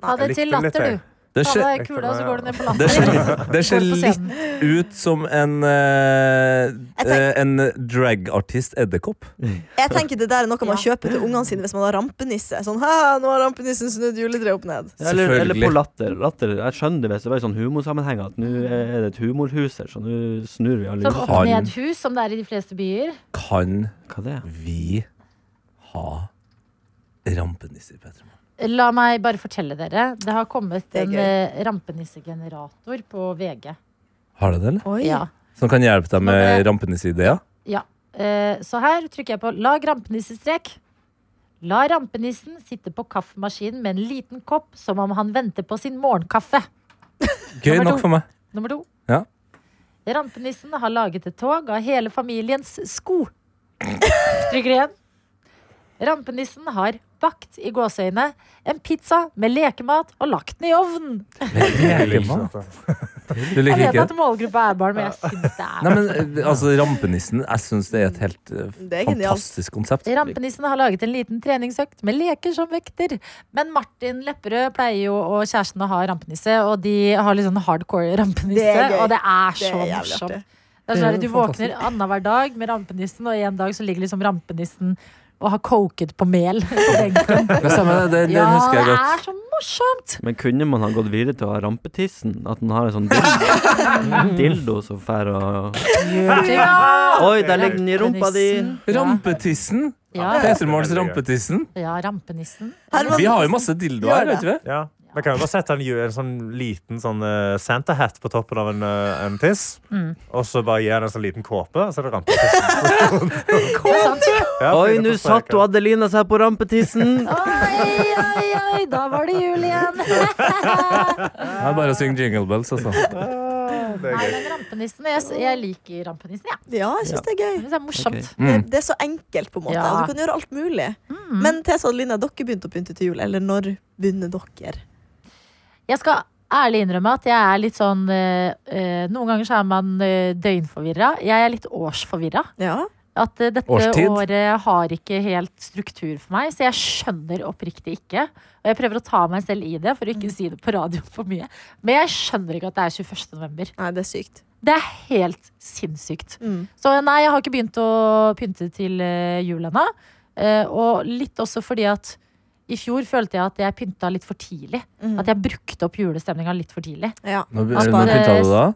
Speaker 2: Ta det
Speaker 6: Jeg
Speaker 2: til
Speaker 6: likte litt,
Speaker 2: latter,
Speaker 6: jeg.
Speaker 2: du.
Speaker 3: Det
Speaker 2: Ta
Speaker 3: ser,
Speaker 2: deg kula, så går du ned på
Speaker 3: det ser,
Speaker 2: latter.
Speaker 3: det ser
Speaker 2: Går på
Speaker 3: litt
Speaker 2: scenen.
Speaker 3: ut som en eh,
Speaker 5: Jeg tenker-
Speaker 3: eh, En dragartist edderkopp.
Speaker 5: Jeg tenker det der er noe man
Speaker 2: Ja.
Speaker 5: kjøper til ungene sine hvis man har rampenisse. Sånn, hæ, nå har rampenissen snudd juletreet opp ned.
Speaker 4: Eller, eller på
Speaker 3: Selvfølgelig.
Speaker 4: latter. latter. Jeg skjønner det hvis det var i sånn humorsammenheng at nå er det et humorhus her, så nå snur vi alle
Speaker 2: Som
Speaker 4: ut.
Speaker 3: Kan-
Speaker 2: opp-ned-hus, som det er i de fleste byer.
Speaker 3: Kan
Speaker 4: Hva det er
Speaker 3: vi ha rampenisser, Petra?
Speaker 2: La meg bare fortelle dere. Det har kommet
Speaker 5: Det er
Speaker 2: en
Speaker 5: gøy.
Speaker 2: eh, rampenissegenerator på VG.
Speaker 3: Har du det, eller?
Speaker 5: Oi.
Speaker 2: Ja.
Speaker 3: Som kan hjelpe deg med rampenisseideer?
Speaker 2: ja. Eh, Så her trykker jeg på 'lag rampenissestrek'. La rampenissen sitte på kaffemaskinen med en liten kopp, som om han venter på sin morgenkaffe.
Speaker 3: Gøy
Speaker 2: Nummer
Speaker 3: nok
Speaker 2: to.
Speaker 3: for meg.
Speaker 2: Nummer to.
Speaker 3: Ja.
Speaker 2: Rampenissen har laget et tog av hele familiens sko. Trykker igjen. Rampenissen har bakt i gåseøyne en pizza med lekemat og lagt den i ovnen.
Speaker 3: Du
Speaker 2: Jeg
Speaker 3: liker
Speaker 2: vet
Speaker 3: ikke
Speaker 2: at målgruppa er barn, men jeg syns det er
Speaker 3: Nei, men eh, altså, Rampenissen, jeg syns det er et helt eh,
Speaker 5: Det er genialt.
Speaker 3: fantastisk konsept.
Speaker 2: Rampenissen har laget en liten treningsøkt med leker som vekter. Men Martin Lepperød pleier jo og kjæresten å ha rampenisse, og de har litt sånn hardcore rampenisse.
Speaker 5: Det er gøy.
Speaker 2: og det er
Speaker 5: Det
Speaker 2: så
Speaker 5: er jævlig artig.
Speaker 2: morsomt. Det er sånn at
Speaker 3: Det
Speaker 2: Du
Speaker 3: er
Speaker 2: våkner annenhver dag med rampenissen, og en dag så ligger liksom rampenissen og har koket på mel. på benken.
Speaker 3: Det stemmer, det, det, det
Speaker 2: Ja,
Speaker 3: husker
Speaker 2: det
Speaker 3: jeg godt.
Speaker 2: er så morsomt!
Speaker 4: Men kunne man ha gått videre til å ha rampetissen? At den har en sånn dildo, dildo som fær og
Speaker 2: Ja!
Speaker 4: Oi, der ligger den i rumpa di!
Speaker 3: Rampetissen!
Speaker 2: Ja, ja,
Speaker 3: Petermorgens Rampetissen.
Speaker 2: ja rampenissen.
Speaker 5: Herman,
Speaker 3: Vi har jo masse dildoer, vet du.
Speaker 6: Ja. Man kan jo bare sette en, ju- en sånn liten sånn, eh, Santa-hat på toppen av en, eh, en tiss. Og så bare gi han en sånn liten kåpe, og så er det rampetissen.
Speaker 2: Det er sant.
Speaker 6: Ja,
Speaker 4: Oi,
Speaker 6: fordi det
Speaker 4: nå
Speaker 6: forstår jeg
Speaker 4: satt
Speaker 6: ikke.
Speaker 4: hun Adelina seg på rampetissen!
Speaker 2: Oi, oi, oi, da var det jul igjen!
Speaker 3: Det er bare å synge Jingle Bells, altså.
Speaker 6: Ah, det er
Speaker 2: Nei,
Speaker 6: gøy.
Speaker 2: men rampenissen Jeg, jeg liker rampenissen, jeg.
Speaker 5: Ja, jeg syns det er
Speaker 2: Jeg
Speaker 5: gøy.
Speaker 2: synes Det er morsomt.
Speaker 5: Det,
Speaker 3: Mm.
Speaker 5: det er så enkelt, på en måte.
Speaker 2: Ja.
Speaker 5: Og du kan gjøre alt mulig. Men Tessa og Linda, dere begynte å pynte til jul. Eller når begynner dere?
Speaker 2: Jeg skal ærlig innrømme at jeg er litt sånn eh, eh, Noen ganger så er man uh, døgnforvirra. Jeg er litt årsforvirra.
Speaker 5: Ja.
Speaker 2: At eh, dette
Speaker 3: Årstid?
Speaker 2: året har ikke helt struktur for meg, så jeg skjønner oppriktig ikke. Og jeg prøver å ta meg selv i det for å ikke si det på radio for mye. Men jeg skjønner ikke at det er 21. november.
Speaker 5: Nei, det er sykt.
Speaker 2: Det er helt sinnssykt.
Speaker 5: Mm.
Speaker 2: Så nei, jeg har ikke begynt å pynte til eh, jul ennå. Eh, og litt også fordi at i fjor følte jeg at jeg pynta litt for tidlig. At jeg brukte opp julestemninga litt for tidlig.
Speaker 5: Ja.
Speaker 3: Nå,
Speaker 5: At
Speaker 3: når
Speaker 5: bare-
Speaker 3: pynta du da?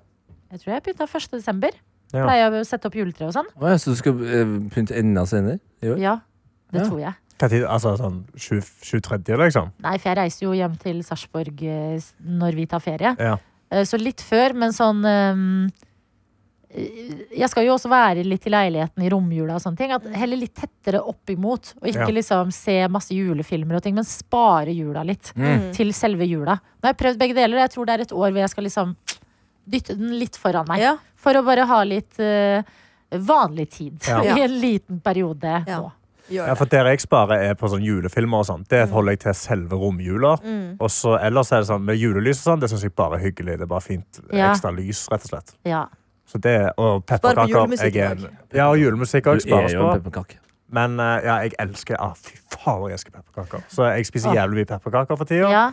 Speaker 2: Jeg tror jeg pynta 1. desember.
Speaker 6: Ja.
Speaker 2: Pleier å sette opp juletre og sånn.
Speaker 3: Å, ja, så du skal eh, pynte enda senere? Jo.
Speaker 2: Ja, det
Speaker 3: Ja.
Speaker 2: tror jeg.
Speaker 6: Hva tid? Altså sånn 20, 23., liksom?
Speaker 2: Nei, for jeg reiser jo hjem til Sarpsborg eh, s- når vi tar ferie.
Speaker 6: Ja.
Speaker 2: Eh, Så litt før, men sånn ehm, eh, Jeg skal jo også være litt i leiligheten i romjula og sånne ting. At heller litt tettere oppimot, og ikke
Speaker 6: Ja.
Speaker 2: liksom se masse julefilmer og ting, men spare jula litt.
Speaker 3: Mm.
Speaker 2: Til selve jula. Nå har jeg prøvd begge deler. og Jeg tror det er et år hvor jeg skal liksom dytte den litt foran meg.
Speaker 5: Ja.
Speaker 2: For å bare ha litt eh, vanlig tid
Speaker 6: Ja.
Speaker 2: i en liten periode
Speaker 5: Ja.
Speaker 2: nå.
Speaker 5: Gjør
Speaker 6: Ja,
Speaker 5: det.
Speaker 6: for der jeg sparer er på sånn julefilmer og sånn. Det holder jeg til selve romjula. Og så ellers er det sånn med julelys og sånn, det syns jeg bare er hyggelig. Det er bare fint
Speaker 2: Ja.
Speaker 6: ekstra lys, rett og slett.
Speaker 2: Ja.
Speaker 6: Så det, og
Speaker 5: Spar på
Speaker 6: pepperkaker.
Speaker 5: julemusikk
Speaker 6: jeg er
Speaker 5: i dag.
Speaker 6: en- Ja, og julemusikk òg
Speaker 3: Du er
Speaker 6: spares
Speaker 3: jo en
Speaker 6: på.
Speaker 3: pepperkake.
Speaker 6: Men eh, ja, jeg elsker ah, Fy faen, jeg elsker pepperkaker. Så jeg spiser
Speaker 2: Åh.
Speaker 6: jævlig mye pepperkaker for tida.
Speaker 2: Ah. ja.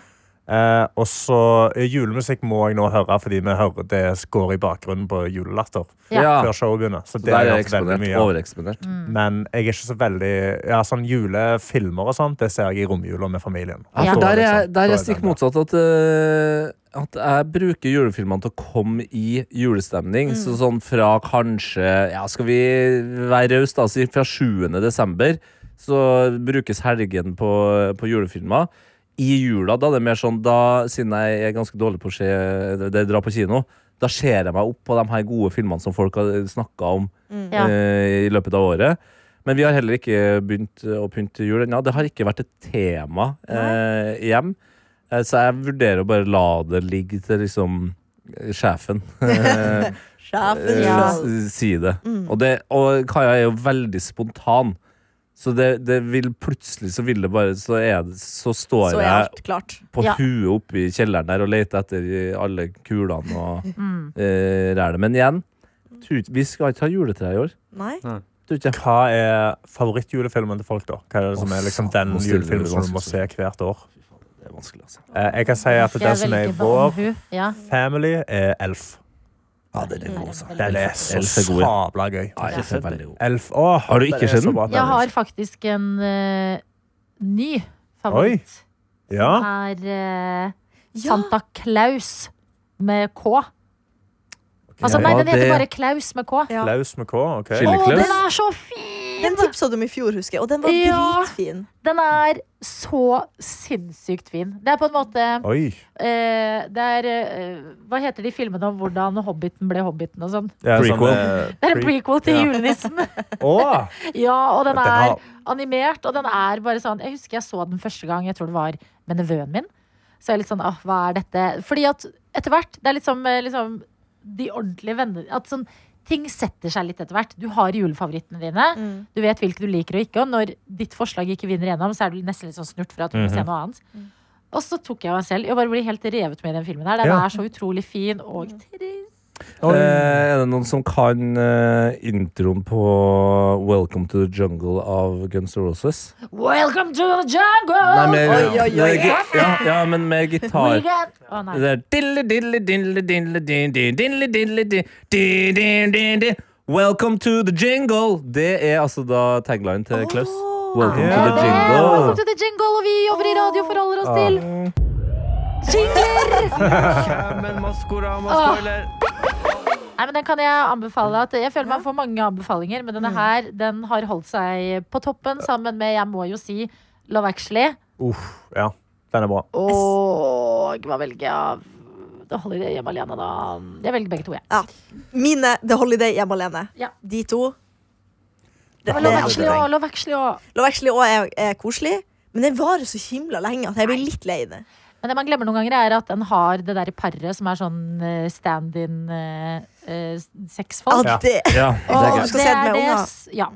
Speaker 6: Eh, og så eh, julemusikk må jeg nå høre, fordi vi hører det går i bakgrunnen på julelatter.
Speaker 2: Ja.
Speaker 3: Ja.
Speaker 6: Før showet begynner.
Speaker 3: Så
Speaker 6: Så det
Speaker 3: der
Speaker 6: har
Speaker 3: er
Speaker 6: jeg
Speaker 3: jeg
Speaker 6: hørt veldig
Speaker 3: eksponert.
Speaker 6: mye av.
Speaker 3: Overeksponert.
Speaker 2: Mm.
Speaker 6: Men jeg er ikke så veldig Ja, sånn julefilmer og sånt, det ser jeg i romjula med familien.
Speaker 3: Ja,
Speaker 2: Ja.
Speaker 3: for der er,
Speaker 6: liksom-
Speaker 3: jeg- der er jeg
Speaker 6: Så
Speaker 3: stikk
Speaker 6: den, ja.
Speaker 3: motsatt. At, eh, at jeg bruker julefilmene til å komme i julestemning. Så sånn fra kanskje Ja, skal vi være rause, da? Si fra 7. desember så brukes helgen på, på julefilmer. I jula, da, det er mer sånn da, siden jeg er ganske dårlig på å se det- det dra på kino, da ser jeg meg opp på de her gode filmene som folk har snakka om
Speaker 2: Ja.
Speaker 3: eh, i løpet av året. Men vi har heller ikke begynt eh, å pynte til jul ennå. Det har ikke vært et tema eh, hjem. Eh, så jeg vurderer å bare la det ligge til liksom eh, sjefen. Eh,
Speaker 5: Sjefen
Speaker 2: Ja.
Speaker 5: sjøl.
Speaker 3: s- Si det. Og, det. og Kaja er jo veldig spontan. Så det, det vil plutselig så vil det bare Så, er det, så står
Speaker 5: Så er
Speaker 3: jeg
Speaker 5: alt klart.
Speaker 3: på
Speaker 2: Ja.
Speaker 3: huet oppe i kjelleren der og lete etter eh, alle kulene og
Speaker 2: Mm.
Speaker 3: eh, rælet. Men igjen, tror ikke- vi skal ikke ha juletre i år.
Speaker 5: Nei?
Speaker 3: Tror ikke jeg.
Speaker 6: Hva er favorittjulefilmen til folk, da? Hva er det som
Speaker 3: Å,
Speaker 6: er liksom
Speaker 3: satan,
Speaker 6: den
Speaker 3: nå stiller du
Speaker 6: julefilmen som du må se
Speaker 3: vanskelig
Speaker 6: hvert år?
Speaker 3: Det er vanskelig, altså.
Speaker 6: Eh, Jeg kan si at
Speaker 2: Jeg
Speaker 6: den som er
Speaker 2: velger
Speaker 6: i
Speaker 2: for
Speaker 6: vår
Speaker 2: omhu. Ja.
Speaker 6: family, er Elf.
Speaker 3: Ja, den
Speaker 2: Mm.
Speaker 3: er god, altså.
Speaker 6: Den er så
Speaker 3: Elf er god, ja.
Speaker 6: sabla gøy.
Speaker 3: Ja, Elf er veldig god.
Speaker 6: Elf, åh,
Speaker 3: Har du ikke
Speaker 6: den er
Speaker 3: sett
Speaker 6: så
Speaker 3: den?
Speaker 6: bra,
Speaker 2: Jeg har faktisk en eh, ny favoritt.
Speaker 6: Ja.
Speaker 2: Er eh,
Speaker 5: Ja.
Speaker 2: Santa Claus med K. Altså,
Speaker 3: Ja,
Speaker 2: nei, den heter
Speaker 3: det-
Speaker 2: bare Klaus med K.
Speaker 5: Ja.
Speaker 6: Klaus med K. ok.
Speaker 3: Skille-
Speaker 2: Å,
Speaker 3: Klaus.
Speaker 2: den er så fin!
Speaker 5: Den tipsa du om i fjor, husker jeg. Og den var
Speaker 2: Ja.
Speaker 5: dritfin.
Speaker 2: Den er så sinnssykt fin. Det er på en måte
Speaker 6: Oi.
Speaker 2: eh, Det er eh, Hva heter de filmene om hvordan Hobbiten ble Hobbiten og sånn?
Speaker 6: Ja, sånn,
Speaker 3: Prequel.
Speaker 6: eh,
Speaker 2: Det er en
Speaker 6: pre-
Speaker 2: prequel til
Speaker 6: Ja.
Speaker 2: julenissen.
Speaker 6: Åh,
Speaker 2: Ja, og den
Speaker 6: Den
Speaker 2: er
Speaker 6: har-
Speaker 2: animert, og den er bare sånn Jeg husker jeg så den første gang, jeg tror det var med nevøen min. Så jeg er litt sånn, åh, hva er dette? Fordi at etter hvert, det er litt som eh, liksom de ordentlige vennene At sånn, ting setter seg litt etter hvert. Du har julefavorittene dine.
Speaker 5: Mm.
Speaker 2: Du vet hvilke du liker og ikke. Og når ditt forslag ikke vinner gjennom, så er du nesten litt sånn snurt for at du må se noe annet. Og så tok jeg meg selv. Jeg bare blir helt revet med i den filmen her. Den
Speaker 6: Ja.
Speaker 2: er så utrolig fin og trist.
Speaker 3: Eh, er det noen som kan eh, introen på Welcome to the Jungle av Guns N' Roses?
Speaker 2: Welcome to the jungle!
Speaker 3: Nei, men-
Speaker 5: Oi, oi, oi.
Speaker 3: Med gi- ja, ja, men med
Speaker 2: We
Speaker 3: gitar.
Speaker 2: got- Å, nei.
Speaker 3: Det der dille, dille, dille, dille, din, din, dille, dille, din, din, din, din, din. Welcome to the jingle! Det er altså da taglinen til Klaus. Welcome to the
Speaker 6: Ja.
Speaker 2: Welcome to
Speaker 3: jingle.
Speaker 2: the jingle, og vi jobber i radio forholder oss til jingler!
Speaker 4: Men
Speaker 2: Åh.
Speaker 4: spoiler
Speaker 2: Nei, men den kan jeg anbefale at Jeg føler man får mange anbefalinger, men denne her den har holdt seg på toppen sammen med, jeg må jo si, Love Actually.
Speaker 6: Uff, ja. Den er bra.
Speaker 2: Og hva velger jeg? Da holder jeg hjemme alene, da. Jeg velger begge to, jeg.
Speaker 5: Mine The Holiday hjemme alene.
Speaker 2: Ja.
Speaker 5: De to.
Speaker 2: Og
Speaker 5: Det, det
Speaker 2: Love
Speaker 5: er
Speaker 2: Actually
Speaker 5: andre
Speaker 2: og
Speaker 5: ting.
Speaker 2: Love Actually og
Speaker 5: Love Actually også er, er koselig, men den varer så himla lenge at jeg blir litt lei det.
Speaker 2: Men det man glemmer noen ganger, er at den har det derre paret som er sånn eh, stand-in eh, eh,
Speaker 5: Ja,
Speaker 2: sexfolk.
Speaker 5: det.
Speaker 3: Ja, det
Speaker 5: Åh,
Speaker 3: er
Speaker 5: du
Speaker 2: Og
Speaker 3: greit.
Speaker 5: skal se den med unger.
Speaker 2: Ja.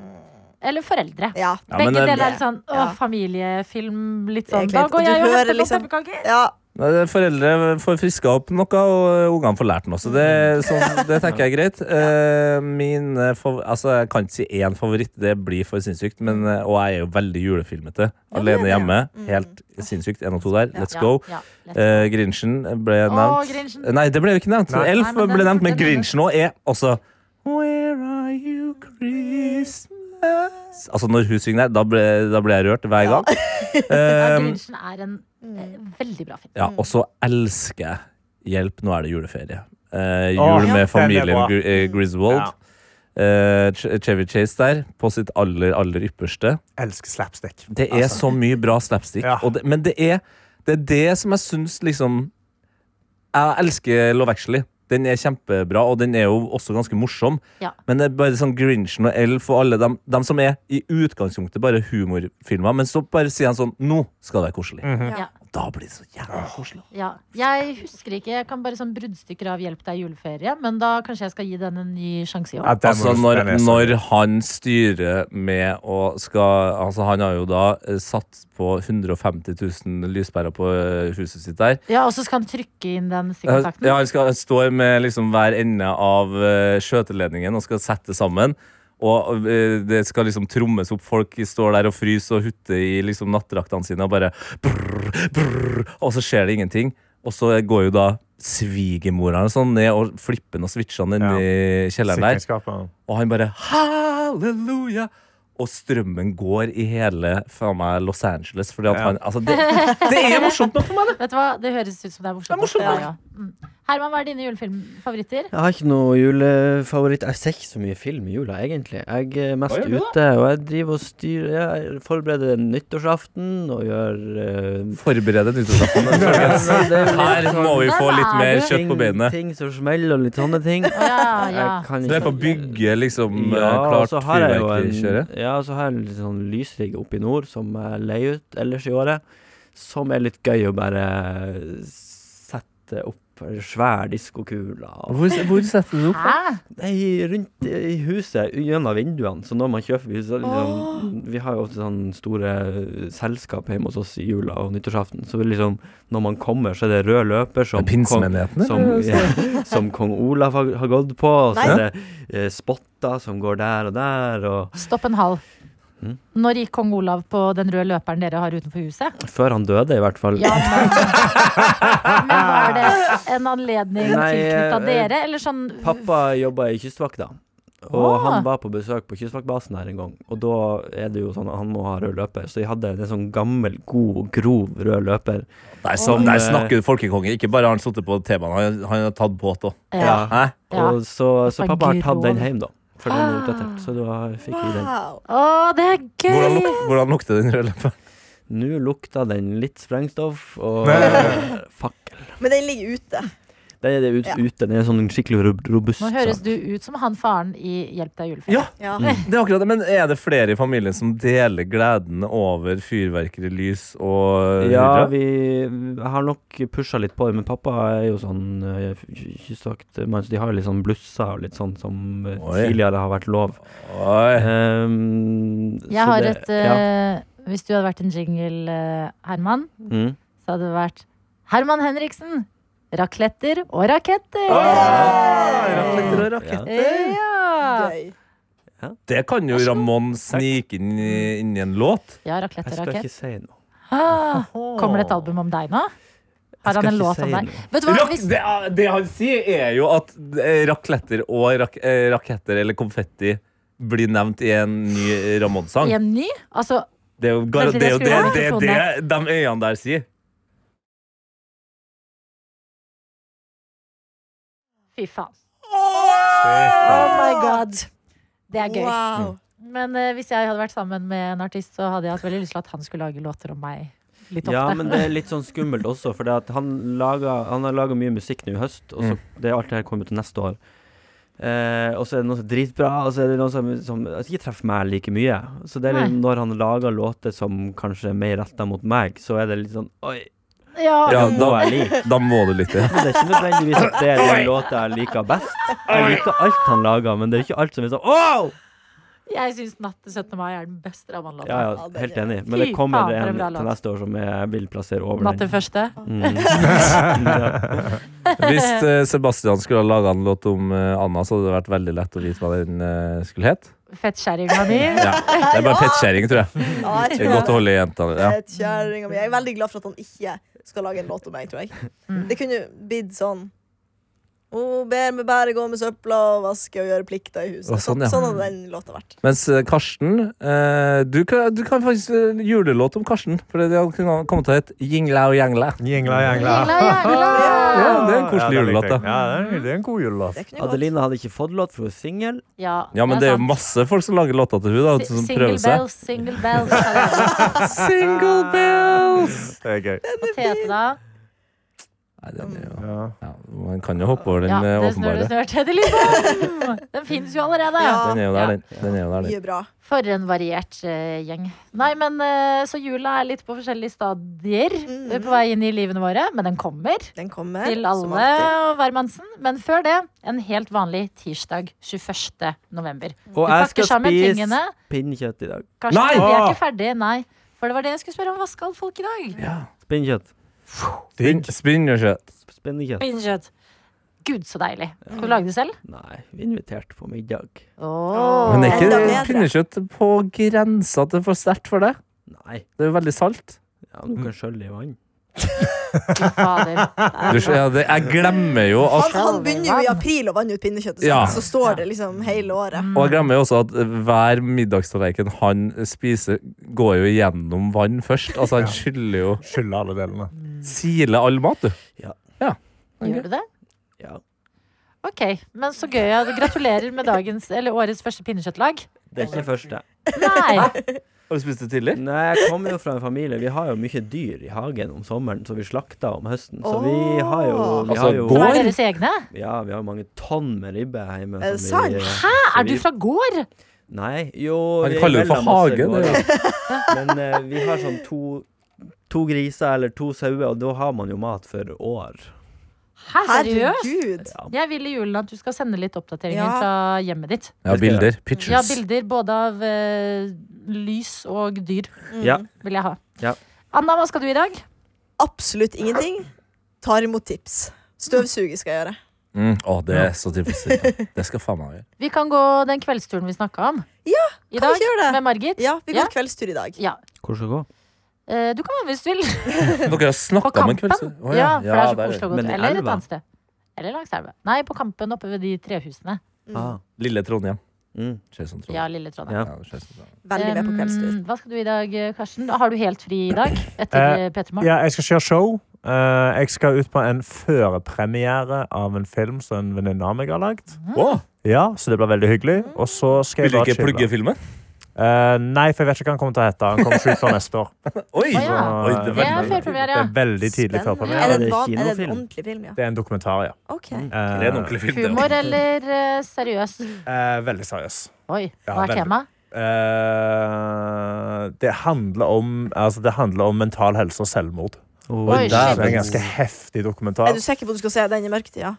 Speaker 2: Eller foreldre.
Speaker 5: Ja.
Speaker 3: Ja, men eh,
Speaker 2: Begge
Speaker 3: det-
Speaker 2: deler er litt sånn åh,
Speaker 5: Ja.
Speaker 2: familiefilm. Litt
Speaker 5: Det er
Speaker 2: sånn. Da
Speaker 5: greit, og
Speaker 2: går
Speaker 5: du
Speaker 2: jeg og
Speaker 5: hører
Speaker 2: henter noen
Speaker 5: liksom-
Speaker 2: pepperkaker.
Speaker 5: ja.
Speaker 3: Nei, det er Foreldre får friska opp noe, og eh, ungene får lært noe. Så det,
Speaker 2: Mm.
Speaker 3: sånn, det tenker jeg er greit. Eh, min eh, fav altså, jeg kan ikke si én favoritt, det blir for sinnssykt. Men,
Speaker 2: Mm.
Speaker 3: eh, og jeg er jo veldig julefilmete. Alene hjemme. Helt sinnssykt. Én og to der. Let's go.
Speaker 2: Ja, let's go.
Speaker 3: Eh, Grinchen
Speaker 2: Åh,
Speaker 3: ble nevnt.
Speaker 2: Grinchen.
Speaker 3: Nei, det ble jo ikke nevnt.
Speaker 6: Nei.
Speaker 3: Elf
Speaker 2: Nei, men den-
Speaker 3: ble nevnt, men
Speaker 2: den-
Speaker 3: Grinchen òg er også Where are you Christmas Altså, når hun synger der, da ble, da ble jeg rørt hver gang.
Speaker 2: Ja,
Speaker 3: Eh,
Speaker 2: Grinchen er en eh,
Speaker 5: Mm.
Speaker 2: veldig bra film.
Speaker 3: ja,
Speaker 6: Mm.
Speaker 3: og så elsker jeg Hjelp, nå er det juleferie. Eh,
Speaker 6: Åh,
Speaker 3: jul
Speaker 6: ja.
Speaker 3: med familien
Speaker 6: Den er bra.
Speaker 3: Gr eh, Griswold. Eh, Ch- Chevy Chase der, på sitt aller, aller ypperste. Altså,
Speaker 6: Elsker slapstick.
Speaker 3: Det er så mye bra slapstick.
Speaker 6: Ja.
Speaker 3: Og det, men det er, det er det som jeg syns liksom Jeg elsker Love Actually. Den er kjempebra, og den er jo også ganske morsom.
Speaker 2: Ja.
Speaker 3: Men det er bare sånn Grinchen og Elf og alle dem, dem som er i utgangspunktet bare humorfilmer, men så bare sier han sånn Nå skal det være koselig.
Speaker 6: Mhm.
Speaker 2: Ja.
Speaker 3: Da blir det så jævla koselig.
Speaker 2: Ja. Jeg husker ikke. Jeg kan bare sånn bruddstykker av 'Hjelp deg juleferie', men da kanskje jeg skal gi den en ny sjanse i år.
Speaker 6: Ja, den må
Speaker 3: Altså
Speaker 6: du-
Speaker 3: når,
Speaker 6: den er så-
Speaker 3: når han styrer med å skal Altså Han har jo da eh, satt på 150 000 lyspærer på eh, huset sitt der.
Speaker 2: Ja, Og så skal han trykke inn den
Speaker 3: Eh,
Speaker 2: stikkontakten.
Speaker 3: Ja, han skal stå med liksom hver ende av eh, skjøteledningen og skal sette sammen. Og eh, det skal liksom trommes opp. Folk står der og fryser og hutter i liksom nattdraktene sine og bare brrr, brrr, Og så skjer det ingenting. Og så går jo da svigermora og sånn ned og flipper den og switcher den inn i kjelleren der.
Speaker 6: Sikringsskapet.
Speaker 3: Og han bare halleluja! Og strømmen går i hele faen meg Los Angeles. Fordi at
Speaker 6: Ja.
Speaker 3: han, altså det, det er morsomt nok for meg, det!
Speaker 2: Vet du hva? Det høres ut som det er morsomt.
Speaker 3: Det er morsomt.
Speaker 2: Ja, ja. Mm. Herman, hva er dine julefilmfavoritter?
Speaker 4: Jeg har ikke noe julefavoritt. Jeg ser ikke så mye film i jula, egentlig. Jeg er mest
Speaker 3: Hva gjør du da?
Speaker 4: ute, og jeg driver og styrer Jeg forbereder nyttårsaften og gjør eh,
Speaker 3: Forberede nyttårsaften. folkens. Her må vi få litt mer kjøtt på beinet.
Speaker 4: Ting, ting som smeller og litt sånne ting.
Speaker 2: Å, Ja, ja.
Speaker 4: Jeg kan
Speaker 3: Så det er på
Speaker 4: ikke-
Speaker 3: bygge, liksom.
Speaker 4: ja,
Speaker 3: eh,
Speaker 4: og
Speaker 3: klart
Speaker 4: så har jeg jo
Speaker 3: fyrverkerikjøret.
Speaker 4: en, ja, og så har jeg en litt sånn lysrigg oppe i nord som jeg leier ut ellers i året. Som er litt gøy å bare sette opp en svær diskokule. og-
Speaker 3: Hvor, hvor setter du det opp?
Speaker 2: Hæ?
Speaker 4: Nei, rundt i huset, gjennom vinduene. Så når man kjøper hus, så liksom, Vi har jo ofte sånn store selskap hjemme hos oss i jula og nyttårsaften. Så det er liksom, når man kommer, så er det rød løper som kom-
Speaker 3: Pinsemenigheten, eller?
Speaker 4: som, ja, som kong Olav har, har gått på. Og så
Speaker 5: Nei.
Speaker 4: er det eh, spotter som går der og der. Og
Speaker 2: Stopp en hal.
Speaker 3: Hm?
Speaker 4: Mm.
Speaker 2: Når gikk kong Olav på den røde løperen dere har utenfor huset?
Speaker 4: før han døde, i hvert fall.
Speaker 2: Ja, men, men var det en anledning
Speaker 4: Nei,
Speaker 2: tilknytta
Speaker 4: eh,
Speaker 2: dere, eller sånn
Speaker 4: Pappa jobba i Kystvakta. Og
Speaker 2: Ah.
Speaker 4: han var på besøk på kystvaktbasen her en gang, og da er det jo sånn at han må ha rød løper. Så de hadde en sånn gammel, god, grov rød løper.
Speaker 3: Der, som, der snakker folkekonge. Ikke bare har han sittet på temaene, han, han har tatt båt òg.
Speaker 2: ja.
Speaker 3: Hæ?
Speaker 2: Ja.
Speaker 4: Og så, så
Speaker 2: Pappa Ah.
Speaker 4: pappa har tatt den
Speaker 2: grov.
Speaker 4: hjem, da. For den er utdatert. Så da fikk vi den.
Speaker 5: Wow.
Speaker 2: Å, det er
Speaker 3: Hvordan,
Speaker 2: gøy!
Speaker 3: luk, hvordan lukter den røde løperen?
Speaker 4: Nå lukta den litt sprengstoff og fakkel.
Speaker 5: Men den ligger ute.
Speaker 4: Den er ut,
Speaker 5: Ja.
Speaker 4: ute. Den er sånn skikkelig rob- robust.
Speaker 2: Nå høres
Speaker 4: sak.
Speaker 2: du ut som han faren i Hjelp deg julefeil.
Speaker 3: Ja,
Speaker 5: Ja.
Speaker 3: det er akkurat det. Men er det flere i familien som deler gleden over fyrverkeri, lys og
Speaker 4: Ja,
Speaker 3: hurra?
Speaker 4: vi jeg har nok pusha litt på det, men pappa er jo sånn eh, ky- kystvaktmann, så de har jo litt sånn blusser og litt sånn som eh,
Speaker 3: Oi.
Speaker 4: tidligere har vært lov. Eh.
Speaker 3: Oi.
Speaker 4: Ehm,
Speaker 2: Jeg
Speaker 4: så
Speaker 2: har
Speaker 4: det-
Speaker 2: et
Speaker 4: ja.
Speaker 2: eh, Hvis du hadde vært en jingle, eh, Herman,
Speaker 4: mm.
Speaker 2: så hadde det vært Herman Henriksen. Rakletter og raketter!
Speaker 3: Rakletter og
Speaker 4: Ah, raketter.
Speaker 2: Ja.
Speaker 5: Gøy.
Speaker 3: Det kan jo Ramón snike inn i, inn i en låt.
Speaker 2: ja,
Speaker 4: Jeg
Speaker 2: raketter og
Speaker 4: skal
Speaker 2: rakett.
Speaker 4: ikke si noe.
Speaker 2: Ah, kommer det et album om deg nå? Har han
Speaker 4: skal
Speaker 2: en
Speaker 4: ikke
Speaker 2: låt
Speaker 4: si
Speaker 2: om deg?
Speaker 4: noe.
Speaker 2: Vet du hva,
Speaker 3: Rak,
Speaker 2: hvis,
Speaker 3: det, er- det han sier, er jo at eh, rakletter og rak, eh, raketter eller konfetti blir nevnt i en ny
Speaker 2: I
Speaker 3: Ramón-sang.
Speaker 2: en ny? Altså,
Speaker 3: Det er jo gar-
Speaker 2: Veldig,
Speaker 3: det er jo
Speaker 2: det
Speaker 3: det,
Speaker 2: skulle
Speaker 3: det,
Speaker 2: jeg
Speaker 3: det,
Speaker 2: ha.
Speaker 3: de øynene der sier.
Speaker 2: fy faen.
Speaker 6: Fy
Speaker 2: Oh my god. Det er gøy.
Speaker 5: Wow.
Speaker 2: Men eh, hvis jeg hadde vært sammen med en artist, så hadde jeg hatt veldig lyst til at han skulle lage låter om meg litt ofte.
Speaker 4: Ja, men det er litt sånn skummelt også, for det at han, lager, han har laga mye musikk nå i høst, og
Speaker 2: Mm.
Speaker 4: så det alt det her kommer til neste år. Eh, og så er det noe som er dritbra, og så er det noe som, som altså, ikke treffer meg like mye. Så det er litt,
Speaker 2: Nei.
Speaker 4: når han lager låter som kanskje er mer retta mot meg, så er det litt sånn Oi,
Speaker 2: Ja,
Speaker 4: det
Speaker 3: Ja,
Speaker 4: må jeg like.
Speaker 3: Da må du lytte.
Speaker 4: Men det er ikke nødvendigvis at det er den låta jeg liker best. Jeg liker alt han lager, men det er ikke alt som er sånn Wow!
Speaker 2: Jeg syns 'Natt til 17. mai' er den beste Raman-låten.
Speaker 4: Ja,
Speaker 5: Ja,
Speaker 4: ja,
Speaker 5: det
Speaker 4: helt
Speaker 5: gjør
Speaker 4: enig. Men
Speaker 2: Fy
Speaker 4: det
Speaker 2: faen,
Speaker 4: kommer
Speaker 2: for en
Speaker 4: en
Speaker 2: bra låt.
Speaker 4: til neste år som jeg vil plassere over
Speaker 2: Natt
Speaker 4: den.
Speaker 2: til første.
Speaker 4: Mm.
Speaker 3: Hvis eh, Sebastian skulle ha laga en låt om eh, Anna, så hadde det vært veldig lett å vite hva den eh, skulle het.
Speaker 2: Fettkjerringa mi.
Speaker 3: Ja. Det er bare fettkjerring, tror jeg.
Speaker 5: Ja, jeg
Speaker 3: Det er
Speaker 5: tror
Speaker 3: godt å holde i jentene. Ja.
Speaker 5: Et Eh, kjerringa mi. Jeg er veldig glad for at han ikke skal lage en låt om meg, tror jeg. Det kunne blitt sånn Hun ber meg bare gå med søpla og vaske og gjøre plikter i huset.
Speaker 3: Å, sånn,
Speaker 5: sånn,
Speaker 3: ja.
Speaker 5: sånn hadde den låta vært.
Speaker 3: Mens eh, Karsten eh, du, kan, du kan faktisk eh, julelåt om Karsten. For det hadde kunnet komme til å hete Jingla og jangla.
Speaker 6: Jingla, jangla.
Speaker 2: Jingla, jangla.
Speaker 3: Ja, det er en koselig
Speaker 6: Ja, den
Speaker 3: julelåt,
Speaker 6: likte
Speaker 3: da.
Speaker 6: jeg. Ja, det er- det er en god julelåt.
Speaker 5: Det kunne jo gått.
Speaker 4: Adelina hadde ikke fått låt, for hun er singel.
Speaker 2: Ja,
Speaker 3: Ja, men det er jo masse folk som lager låter til henne, da,
Speaker 2: sant.
Speaker 3: som
Speaker 2: Single
Speaker 3: prøver seg.
Speaker 2: bells, single bells. sa de.
Speaker 3: Single bells!
Speaker 6: Det er gøy.
Speaker 2: Og Tete, da?
Speaker 3: Nei, den er jo
Speaker 6: Ja.
Speaker 3: ja, Man kan jo hoppe over den
Speaker 2: Ja,
Speaker 3: eh,
Speaker 2: det snør, det
Speaker 3: åpenbare.
Speaker 2: snør. Tete Lidbom! Den fins jo allerede.
Speaker 5: Ja.
Speaker 3: Den er jo der,
Speaker 2: Ja.
Speaker 3: den. den, er jo der, den.
Speaker 5: Mye bra.
Speaker 2: For en variert eh, gjeng. Nei, men eh, Så jula er litt på forskjellige stadier
Speaker 5: Mhm.
Speaker 2: eh, på vei inn i livene våre. Men den kommer
Speaker 5: Den kommer.
Speaker 2: til
Speaker 5: som
Speaker 2: alle
Speaker 5: alltid.
Speaker 2: og hvermannsen. Men før det, en helt vanlig tirsdag 21. november. Du
Speaker 4: Og jeg
Speaker 2: pakker
Speaker 4: skal
Speaker 2: sammen
Speaker 4: spise
Speaker 2: tingene.
Speaker 4: Pinnekjøtt i dag.
Speaker 2: Karsten,
Speaker 3: Nei!
Speaker 2: vi er
Speaker 6: Åh!
Speaker 2: ikke ferdige, nei. For det var det jeg skulle spørre om. Hva skal folk i dag?
Speaker 3: Ja.
Speaker 4: Pinnekjøtt.
Speaker 3: Spinn- Spinn og kjøtt.
Speaker 4: Sp- Spinnekjøtt.
Speaker 2: Pinnekjøtt. Gud, så deilig. Skal du lage det selv?
Speaker 4: Nei, vi er invitert på middag.
Speaker 2: Åh.
Speaker 3: Men er
Speaker 5: Enda
Speaker 3: ikke
Speaker 5: bedre.
Speaker 3: pinnekjøtt på grensa til for sterkt for deg?
Speaker 4: Nei,
Speaker 3: Det er jo veldig salt.
Speaker 4: ja, men du kan skjølle i vann.
Speaker 2: Fy fader.
Speaker 3: Du, skj- ja, det, jeg glemmer jo at
Speaker 5: Han, han begynner jo i april å vanne ut pinnekjøttet, sitt,
Speaker 3: Ja.
Speaker 5: så står det liksom hele året.
Speaker 3: Og jeg glemmer jo også at hver middagstallerken han spiser, går jo gjennom vann først. Altså Han skyller jo
Speaker 6: Skyller alle delene.
Speaker 3: Siler all mat, du.
Speaker 2: Gjør du det?
Speaker 4: Ja.
Speaker 2: Ok, men så gøy. ja. Gratulerer med dagens, eller årets første pinnekjøttlag.
Speaker 4: Det er ikke det første.
Speaker 2: Nei!
Speaker 3: Har du spist det tidlig?
Speaker 4: Nei, jeg kommer jo fra en familie. Vi har jo mye dyr i hagen om sommeren, så vi slakter om høsten. Så vi har jo, vi
Speaker 3: Altså,
Speaker 4: har jo
Speaker 2: Som er
Speaker 3: Gård?
Speaker 2: deres egne?
Speaker 4: Ja, vi har mange tonn med ribbe hjemme.
Speaker 5: Er det
Speaker 4: som vi-
Speaker 5: sant?
Speaker 4: så
Speaker 2: Er du
Speaker 4: vi-
Speaker 2: fra gård?
Speaker 4: Nei, jo
Speaker 3: Han
Speaker 4: vi
Speaker 3: kaller det for
Speaker 4: melder masse
Speaker 3: hage, det,
Speaker 4: gårder. Men eh, vi har sånn to, to griser eller to sauer, og da har man jo mat for år.
Speaker 2: Hæ, seriøst?
Speaker 5: Herregud!
Speaker 4: Ja.
Speaker 2: Jeg vil i julen at du skal sende litt oppdateringer
Speaker 5: Ja.
Speaker 2: fra hjemmet ditt.
Speaker 3: Ja, bilder. Pictures.
Speaker 2: Ja, bilder både av eh, lys og dyr
Speaker 4: Ja.
Speaker 2: vil jeg ha.
Speaker 4: Ja.
Speaker 2: Anna, hva skal du i dag?
Speaker 5: Absolutt ingenting. Tar imot tips. Støvsuger skal jeg gjøre.
Speaker 3: Mm. Å, det er så tilfredsstillende. Det skal faen meg gjøre.
Speaker 2: Vi kan gå den kveldsturen vi snakka om.
Speaker 5: Ja,
Speaker 2: I
Speaker 5: kan vi
Speaker 2: dag
Speaker 5: ikke gjøre det?
Speaker 2: med Margit.
Speaker 5: Ja, vi går
Speaker 2: Ja.
Speaker 5: kveldstur i dag.
Speaker 2: Ja.
Speaker 4: Hvor skal det gå?
Speaker 2: Eh, du kan være med hvis du vil.
Speaker 3: Dere har
Speaker 2: På
Speaker 3: snakka om en
Speaker 2: Kampen.
Speaker 3: kveld? så- Å,
Speaker 2: ja. for det er så
Speaker 3: der
Speaker 2: koselig å gå
Speaker 4: Men
Speaker 2: tur.
Speaker 4: i
Speaker 2: Eller et
Speaker 4: elva?
Speaker 2: annet sted. Eller langs elva. Nei, på Kampen oppe ved de trehusene.
Speaker 4: Ah.
Speaker 3: Lille Trondheim.
Speaker 4: Mm.
Speaker 3: Skjønsen Trondheim.
Speaker 2: Ja, lille Trondheim.
Speaker 4: Ja.
Speaker 3: Ja, det er Skjøsen Trondheim.
Speaker 5: Veldig med på
Speaker 2: Um,
Speaker 5: kveldstur.
Speaker 2: Hva skal du i dag, Karsten? Har du helt fri i dag?
Speaker 6: Eh,
Speaker 2: Etter Petermorgen?
Speaker 6: Ja, jeg skal kjøre show. Eh, jeg skal ut på en førpremiere av en film som en venninne av meg har lagd.
Speaker 2: Hm?
Speaker 3: Å,
Speaker 6: Ja, så det blir veldig hyggelig. Og så skal
Speaker 3: vil
Speaker 6: jeg
Speaker 3: du
Speaker 6: bare
Speaker 3: ikke plugge
Speaker 6: chille.
Speaker 3: filmen?
Speaker 6: Eh, nei, for jeg vet ikke hva han kommer til å hete. Han kommer ikke ut før neste år.
Speaker 3: Oi!
Speaker 2: Å ja.
Speaker 6: Så,
Speaker 3: Oi, det
Speaker 6: eh,
Speaker 3: er
Speaker 2: Det er
Speaker 6: det
Speaker 2: førpremiere.
Speaker 6: er veldig tidlig før
Speaker 5: Spennende.
Speaker 6: altså. premiere.
Speaker 5: Er
Speaker 4: Ja,
Speaker 5: det, en, van,
Speaker 4: det er
Speaker 5: er det en
Speaker 4: kinofilm.
Speaker 5: ordentlig film, ja?
Speaker 6: Det er en dokumentar, ja.
Speaker 5: Ok.
Speaker 6: Eh,
Speaker 3: Det er en ordentlig film. det.
Speaker 2: Humor eller eh, seriøs?
Speaker 6: eh, veldig seriøs.
Speaker 2: Oi,
Speaker 6: Ja,
Speaker 2: hva er
Speaker 6: veldig.
Speaker 2: temaet?
Speaker 6: Eh, det handler om Altså, det handler om mental helse og selvmord.
Speaker 4: Oh,
Speaker 2: Oi,
Speaker 6: Så
Speaker 2: shit.
Speaker 6: det er en ganske heftig dokumentar.
Speaker 5: Er du sikker på at du skal se den i mørketida?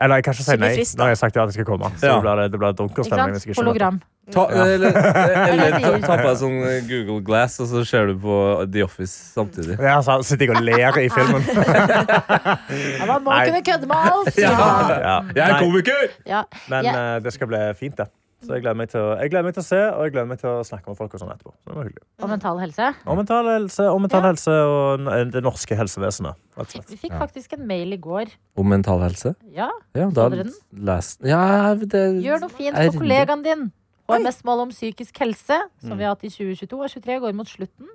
Speaker 6: Eller jeg kan ikke si
Speaker 5: Skikkelig
Speaker 6: nei.
Speaker 5: frist, da.
Speaker 6: Nå har jeg sagt ja at jeg skal komme. Så
Speaker 3: Ja.
Speaker 6: blir det, det blir
Speaker 2: Ikke
Speaker 6: dunkerstemning. hvis
Speaker 2: sant?
Speaker 6: jeg ikke kommer.
Speaker 2: Hologram.
Speaker 3: Ta, eller, eller
Speaker 2: Eller sier-
Speaker 3: ta på deg sånn Google Glass, og så ser du på The Office samtidig.
Speaker 6: Ja, så sitter jeg og ler i filmen.
Speaker 2: Ja, man må
Speaker 6: Nei.
Speaker 2: kunne kødde med alt! Ja.
Speaker 6: Ja.
Speaker 3: Jeg er
Speaker 6: Nei,
Speaker 3: komiker!
Speaker 2: Ja.
Speaker 6: Men
Speaker 2: Ja.
Speaker 6: eh, det skal bli fint, det. Så jeg gleder, meg til å, jeg gleder meg til å se, og jeg gleder meg til å snakke med folk og sånn etterpå. Så det var hyggelig.
Speaker 2: Og mental helse.
Speaker 6: Og mental helse og, mental
Speaker 2: Ja.
Speaker 6: helse og n- eh, det norske helsevesenet. Rett og slett.
Speaker 2: Vi fikk faktisk en mail i går.
Speaker 3: Om mental helse?
Speaker 2: Ja,
Speaker 3: Ja,
Speaker 2: Så
Speaker 3: da
Speaker 2: dere den?
Speaker 3: les ja, det,
Speaker 2: Gjør noe fint
Speaker 3: Ærlig.
Speaker 2: for kollegaen din. HMS-mål om psykisk helse,
Speaker 6: Mm.
Speaker 2: som vi har hatt i 2022 og 2023, går mot slutten.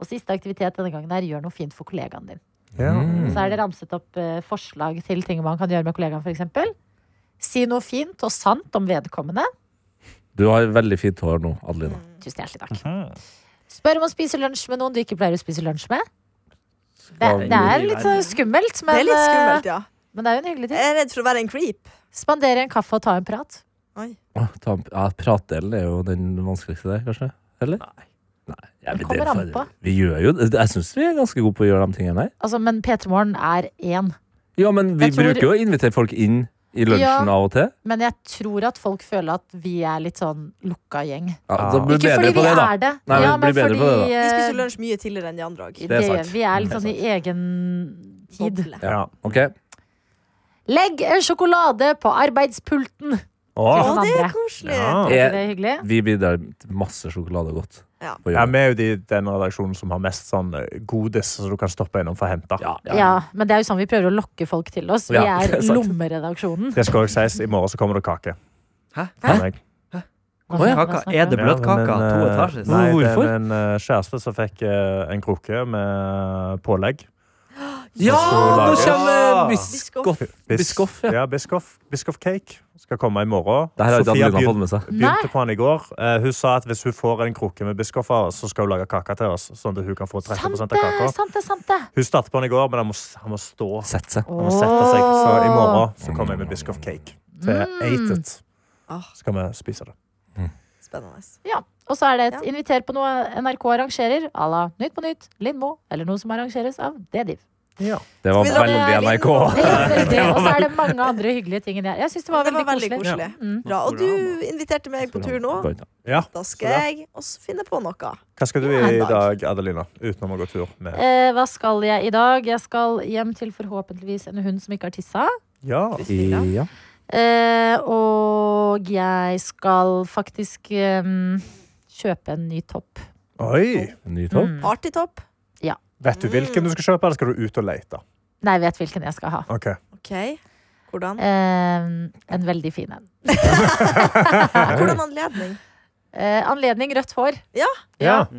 Speaker 2: Og siste aktivitet denne gangen er gjør noe fint for kollegaen din.
Speaker 6: Mm.
Speaker 2: Så er det ramset opp eh, forslag til ting man kan gjøre med kollegaen, f.eks. Si noe fint og sant om vedkommende.
Speaker 3: Du har veldig fint hår nå, Adelina.
Speaker 2: Tusen hjertelig takk. Spør om å spise lunsj med noen du ikke pleier å spise lunsj med. Det,
Speaker 3: Skal
Speaker 2: det er
Speaker 4: vi-
Speaker 2: litt eh, skummelt,
Speaker 5: Det
Speaker 2: men,
Speaker 5: er litt skummelt, Eh.
Speaker 2: eh,
Speaker 5: ja.
Speaker 2: men det er jo en hyggelig ting.
Speaker 5: Jeg er redd for å være en creep.
Speaker 2: Spandere en kaffe og ta en prat.
Speaker 5: Oi.
Speaker 3: Åh, ta en- Ja, Pratdelen er jo den vanskeligste der, kanskje? Eller? Nei. jeg
Speaker 2: Det
Speaker 3: vil
Speaker 2: kommer an
Speaker 3: det-
Speaker 2: på.
Speaker 3: Vi gjør jo det. Jeg syns vi er ganske gode på å gjøre de tingene der.
Speaker 2: Altså, men P3 Morgen er én.
Speaker 3: Ja, men vi
Speaker 2: Jeg tror-
Speaker 3: bruker jo å invitere folk inn i lunsjen
Speaker 2: Ja.
Speaker 3: av og til.
Speaker 2: Men jeg tror at folk føler at vi er litt sånn lukka gjeng.
Speaker 3: Ja, da blir vi
Speaker 2: Ikke
Speaker 3: bedre
Speaker 2: fordi vi
Speaker 3: på det, da.
Speaker 2: er det.
Speaker 3: Nei, men
Speaker 2: ja,
Speaker 3: bli
Speaker 2: men
Speaker 3: bedre
Speaker 2: fordi
Speaker 3: på det,
Speaker 5: Vi spiser
Speaker 2: eh,
Speaker 5: jo lunsj mye tidligere enn de andre òg.
Speaker 2: det,
Speaker 3: Det er
Speaker 2: gjør
Speaker 3: sant.
Speaker 2: vi. Vi er litt sånn i egen tid.
Speaker 6: Ja.
Speaker 3: Ok.
Speaker 2: Legg en sjokolade på arbeidspulten.
Speaker 5: Å,
Speaker 6: Åh.
Speaker 2: noen
Speaker 5: det er
Speaker 2: andre.
Speaker 5: koselig!
Speaker 6: Ja.
Speaker 2: Er ikke det hyggelig?
Speaker 3: Vi bidrar til masse sjokolade og godt.
Speaker 5: Ja.
Speaker 3: på jobb.
Speaker 6: Ja, vi er jo de, den redaksjonen som har mest sånn eh, godis som du kan stoppe innom for å hente.
Speaker 3: Ja, ja.
Speaker 2: Ja, men det er jo sånn vi prøver å lokke folk til oss. Vi
Speaker 6: Ja,
Speaker 2: er
Speaker 6: det er sant.
Speaker 2: lommeredaksjonen.
Speaker 6: Det skal også sies. I morgen så kommer det kake.
Speaker 4: Hæ?
Speaker 6: Fra meg.
Speaker 2: Hva snakker
Speaker 4: Kaka,
Speaker 2: vi om?
Speaker 4: er det bløtkaka?
Speaker 6: Ja, men,
Speaker 4: to
Speaker 6: eh,
Speaker 4: etasjer?
Speaker 6: Nei, det
Speaker 3: Hvorfor?
Speaker 6: er en eh, kjæreste som fikk eh, en krukke med eh, pålegg.
Speaker 3: Ja,
Speaker 6: nå
Speaker 4: kommer
Speaker 5: biskoff.
Speaker 3: Biskoff, ja.
Speaker 6: ja. Biskoff, biskoff Cake skal komme i morgen.
Speaker 3: Det her har ikke
Speaker 6: Sofia
Speaker 3: Adelina
Speaker 6: begyn-
Speaker 3: fått med seg.
Speaker 6: begynte
Speaker 2: Nei.
Speaker 6: på han i går. Eh, hun sa at hvis hun får en krukke med biskoff av oss, så skal hun lage kake til oss. Sånn at hun kan få 30
Speaker 2: Sant
Speaker 6: av
Speaker 2: det,
Speaker 6: kaka.
Speaker 2: sant det, sant det.
Speaker 6: Hun startet på han i går, men han må, s- han må stå.
Speaker 3: Sett seg.
Speaker 6: Han må sette seg. Så i morgen så kommer jeg med biskoff Cake til
Speaker 2: Mm.
Speaker 6: Eitet.
Speaker 5: Ah.
Speaker 6: Så skal vi spise det.
Speaker 5: Spennende.
Speaker 2: Ja, og så er det et
Speaker 5: Ja.
Speaker 2: inviter på noe NRK arrangerer, à la Nytt på Nytt, Lindmo, eller noe som arrangeres av D-Div.
Speaker 3: Det var
Speaker 5: Skal vi dra
Speaker 3: veldig
Speaker 5: ned
Speaker 3: NRK.
Speaker 5: litt?
Speaker 2: Og så er det mange andre hyggelige ting enn det her. Jeg syns det var
Speaker 5: Det
Speaker 2: veldig
Speaker 5: var veldig
Speaker 2: koselig.
Speaker 5: koselig.
Speaker 2: Mm.
Speaker 5: Bra. Og du inviterte meg på tur nå.
Speaker 6: Ja.
Speaker 5: Da skal jeg også finne på noe.
Speaker 6: Hva skal du
Speaker 5: Ja,
Speaker 6: i
Speaker 5: en
Speaker 6: i
Speaker 5: dag.
Speaker 6: dag, Adelina? Utenom å gå tur med
Speaker 2: Eh, hva skal jeg i dag? Jeg skal hjem til forhåpentligvis en hund som ikke har tissa.
Speaker 6: Ja.
Speaker 3: Ja.
Speaker 2: Eh, og jeg skal faktisk eh, kjøpe en ny topp.
Speaker 6: Oi!
Speaker 3: Ny topp.
Speaker 2: Mm.
Speaker 5: Partytopp.
Speaker 6: Vet du hvilken du skal kjøpe, eller skal du ut og lete?
Speaker 2: Nei, jeg vet hvilken jeg skal ha.
Speaker 6: Ok.
Speaker 5: Ok, Hvordan?
Speaker 2: Eh, en veldig fin en.
Speaker 5: Hvordan anledning?
Speaker 2: Eh, anledning rødt hår.
Speaker 6: Ja.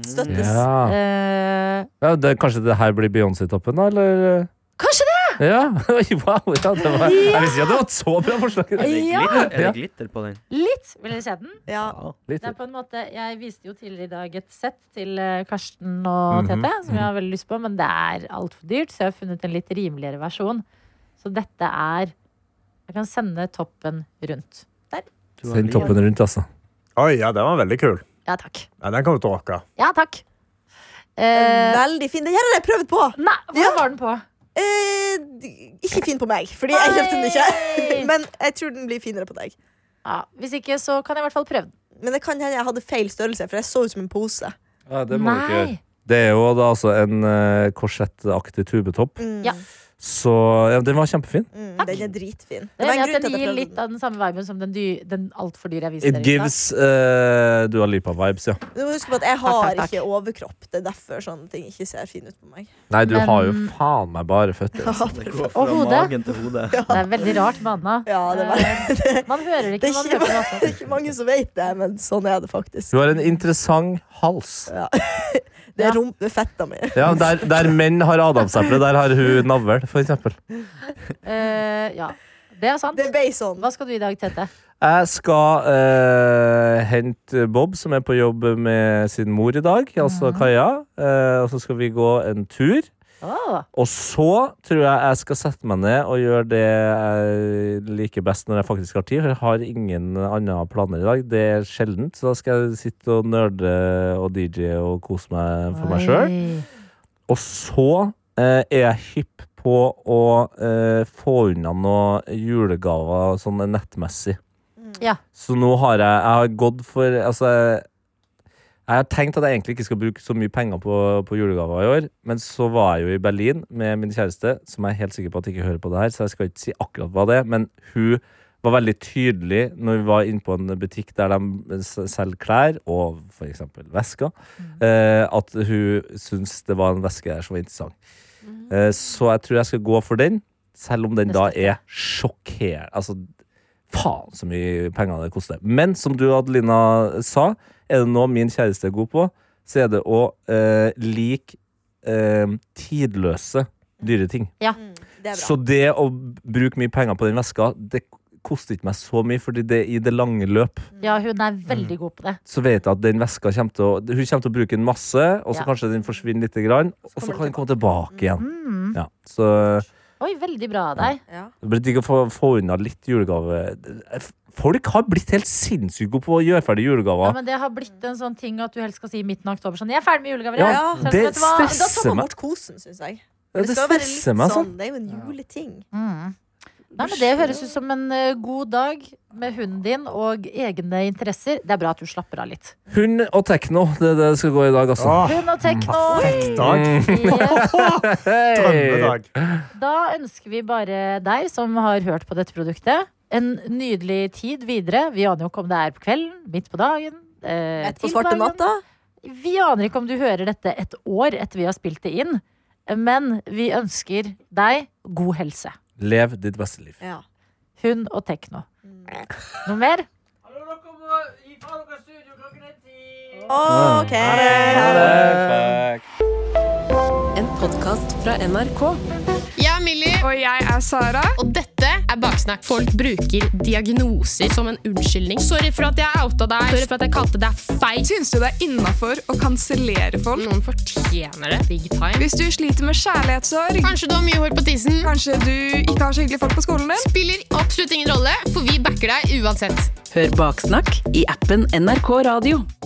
Speaker 5: Støttes.
Speaker 3: Ja.
Speaker 2: Eh,
Speaker 3: Ja, det, kanskje det her blir Beyoncé-toppen, da? Eller?
Speaker 2: Kanskje
Speaker 3: det! Ja. Oi, wow, ja, det var, jeg visste ikke at det var et så bra forslag.
Speaker 4: Er det
Speaker 2: Ja.
Speaker 4: glitter, er
Speaker 3: Ja.
Speaker 4: det glitter på den?
Speaker 2: litt! Vil dere se den?
Speaker 5: Ja.
Speaker 3: Litt.
Speaker 2: Det er på en måte, jeg viste jo tidligere i dag et sett til eh, Karsten
Speaker 3: Mhm.
Speaker 2: og Tete, som jeg har veldig lyst på, men det er altfor dyrt, så jeg har funnet en litt rimeligere versjon. Så dette er Jeg kan sende toppen rundt.
Speaker 4: Du har
Speaker 3: Send
Speaker 4: lik-
Speaker 3: toppen rundt, altså.
Speaker 6: Oi, ja, den var veldig kul.
Speaker 2: Ja takk.
Speaker 6: Ja, den kommer du til å rocke.
Speaker 2: Ja takk. Eh,
Speaker 5: Veldig fin. Den her har jeg prøvd på!
Speaker 2: nei, hvor
Speaker 5: Ja.
Speaker 2: var den på?
Speaker 5: Eh, d- ikke fin på meg, fordi jeg kjøpte den ikke.
Speaker 2: Oi!
Speaker 5: Men jeg tror den blir finere på deg.
Speaker 2: Ja, hvis ikke, så kan jeg i hvert fall prøve den.
Speaker 5: Men det kan hende jeg hadde feil størrelse, for jeg så ut som en pose.
Speaker 3: det
Speaker 2: Nei!
Speaker 3: Det er jo da altså en eh, korsettaktig tubetopp.
Speaker 5: Mm.
Speaker 2: Ja.
Speaker 3: Så ja, den var kjempefin.
Speaker 5: Mm, den er dritfin.
Speaker 2: Det er enig at den
Speaker 5: jeg
Speaker 2: gir
Speaker 5: prøvde
Speaker 2: litt av den samme viben som den, dy, den altfor dyre jeg viste
Speaker 3: It
Speaker 2: dere. i stad.
Speaker 3: gives eh, Dua Lipa-vibes, ja.
Speaker 5: Du må huske på at jeg har
Speaker 2: takk, takk.
Speaker 5: ikke overkropp. Det er derfor sånne ting ikke ser fine ut på meg.
Speaker 3: Nei, du
Speaker 2: Men-
Speaker 3: har jo faen meg bare føtter.
Speaker 4: Det går fra
Speaker 2: Og hodet.
Speaker 4: magen til hodet.
Speaker 2: Det er veldig rart med Anna.
Speaker 5: Ja, det, var, det,
Speaker 2: Eh, Man hører det
Speaker 5: det,
Speaker 2: ikke når man
Speaker 5: er ikke,
Speaker 2: hører
Speaker 5: det
Speaker 2: det.
Speaker 5: er ikke mange som vet det, men sånn er det faktisk.
Speaker 3: Du har en interessant hals.
Speaker 5: Det
Speaker 2: Ja.
Speaker 5: er rump- det er fetta mi.
Speaker 3: Ja, Der, der menn har adamseple, der har hun navl, for eksempel.
Speaker 2: Eh, ja, det er sant.
Speaker 5: Det ble sånn.
Speaker 2: Hva skal du i dag, Tete?
Speaker 3: Jeg skal eh, eh, hente Bob, som er på jobb med sin mor i dag, altså Kaja. Eh, og så skal vi gå en tur.
Speaker 2: Åh,
Speaker 3: Og så tror jeg jeg skal sette meg ned og gjøre det jeg liker best når jeg faktisk har tid. For jeg har ingen andre planer i dag. Det er sjeldent. Så da skal jeg sitte og nerde og DJ og kose meg for meg sjøl.
Speaker 2: oi.
Speaker 3: Og så eh, er jeg hypp på å eh, få unna noen julegaver sånn nettmessig.
Speaker 2: Ja.
Speaker 3: Så nå har jeg, jeg har gått for Altså, jeg, jeg har tenkt at jeg egentlig ikke skal bruke så mye penger på, på julegaver i år, men så var jeg jo i Berlin med min kjæreste, som jeg er helt sikker på at ikke hører på det her, så jeg skal ikke si akkurat hva det er, men hun var veldig tydelig når vi var inne på en butikk der de s- selger klær, og for eksempel vesker, eh, at hun syntes det var en veske der som var interessant. Eh, så jeg tror jeg skal gå for den, selv om den da er sjokkerende. Altså, faen så mye penger det koster. Men som du, Adelina, sa, er det noe min kjæreste er god på, så er det å eh, like eh, tidløse dyre ting.
Speaker 5: Mm, det er bra.
Speaker 3: Så det å bruke mye penger på den veska, det koster ikke meg så mye, fordi det i det lange løp
Speaker 2: ja, hun er
Speaker 3: Mm.
Speaker 2: veldig god på det.
Speaker 3: så vet jeg at den veska kommer til å Hun kommer til å bruke den masse, og så
Speaker 2: Ja.
Speaker 3: kanskje den forsvinner lite grann, og så
Speaker 5: kommer
Speaker 3: kan den
Speaker 5: den
Speaker 3: komme tilbake igjen.
Speaker 2: Mm.
Speaker 3: Ja, så
Speaker 2: Oi, veldig bra av deg.
Speaker 5: ja.
Speaker 3: det blir digg å få, få unna litt julegave. Folk har blitt helt sinnssykt gode på å gjøre ferdig
Speaker 2: Ja,
Speaker 3: julegaver.
Speaker 2: men det har blitt en sånn ting at du helst skal si i midten av oktober sånn Jeg er ferdig med julegaver. jeg».
Speaker 3: Ja,
Speaker 5: Ja,
Speaker 2: Så,
Speaker 3: det
Speaker 2: vet du hva?
Speaker 5: Da tar
Speaker 3: stresser
Speaker 5: man
Speaker 3: meg.
Speaker 5: bort kosen, syns jeg.
Speaker 3: Ja, Det
Speaker 5: skal jo være
Speaker 3: stresser
Speaker 5: litt
Speaker 3: meg sånn.
Speaker 5: Det er jo en juleting.
Speaker 2: Mm. Nei, men Det høres ut som en eh, god dag med hunden din og egne interesser. Det er bra at du slapper av litt.
Speaker 3: Hund og tekno, det er det det skal gå i dag, altså.
Speaker 6: Åh,
Speaker 2: Hund og tekno!
Speaker 3: Mm.
Speaker 6: dag.
Speaker 2: Yes.
Speaker 6: Drømmedag.
Speaker 2: Da ønsker vi bare deg som har hørt på dette produktet, en nydelig tid videre. Vi aner jo ikke om det er på kvelden, midt på dagen. Eh,
Speaker 5: Ett på
Speaker 2: til
Speaker 5: svarte
Speaker 2: dagen.
Speaker 5: natta.
Speaker 2: Vi aner ikke om du hører dette et år etter vi har spilt det inn, men vi ønsker deg god helse.
Speaker 3: Lev ditt beste liv.
Speaker 5: Ja.
Speaker 2: Hund og tekno.
Speaker 5: Mm.
Speaker 2: Noe mer?
Speaker 5: OK.
Speaker 7: En podkast fra NRK.
Speaker 8: Jeg er Millie. Og jeg er Sara. Og dette er Baksnakk. Folk bruker diagnoser som en unnskyldning. Sorry for at jeg outa deg. Sorry for at jeg kalte deg feil.
Speaker 9: Syns du det er innafor å kansellere folk?
Speaker 8: Noen fortjener det. Big time.
Speaker 9: Hvis du sliter med kjærlighetssorg?
Speaker 8: Kanskje du har mye hår på tissen.
Speaker 9: Kanskje du ikke har så hyggelige folk på skolen din?
Speaker 8: Spiller absolutt ingen rolle, for vi backer deg uansett.
Speaker 7: Hør Baksnakk i appen NRK Radio.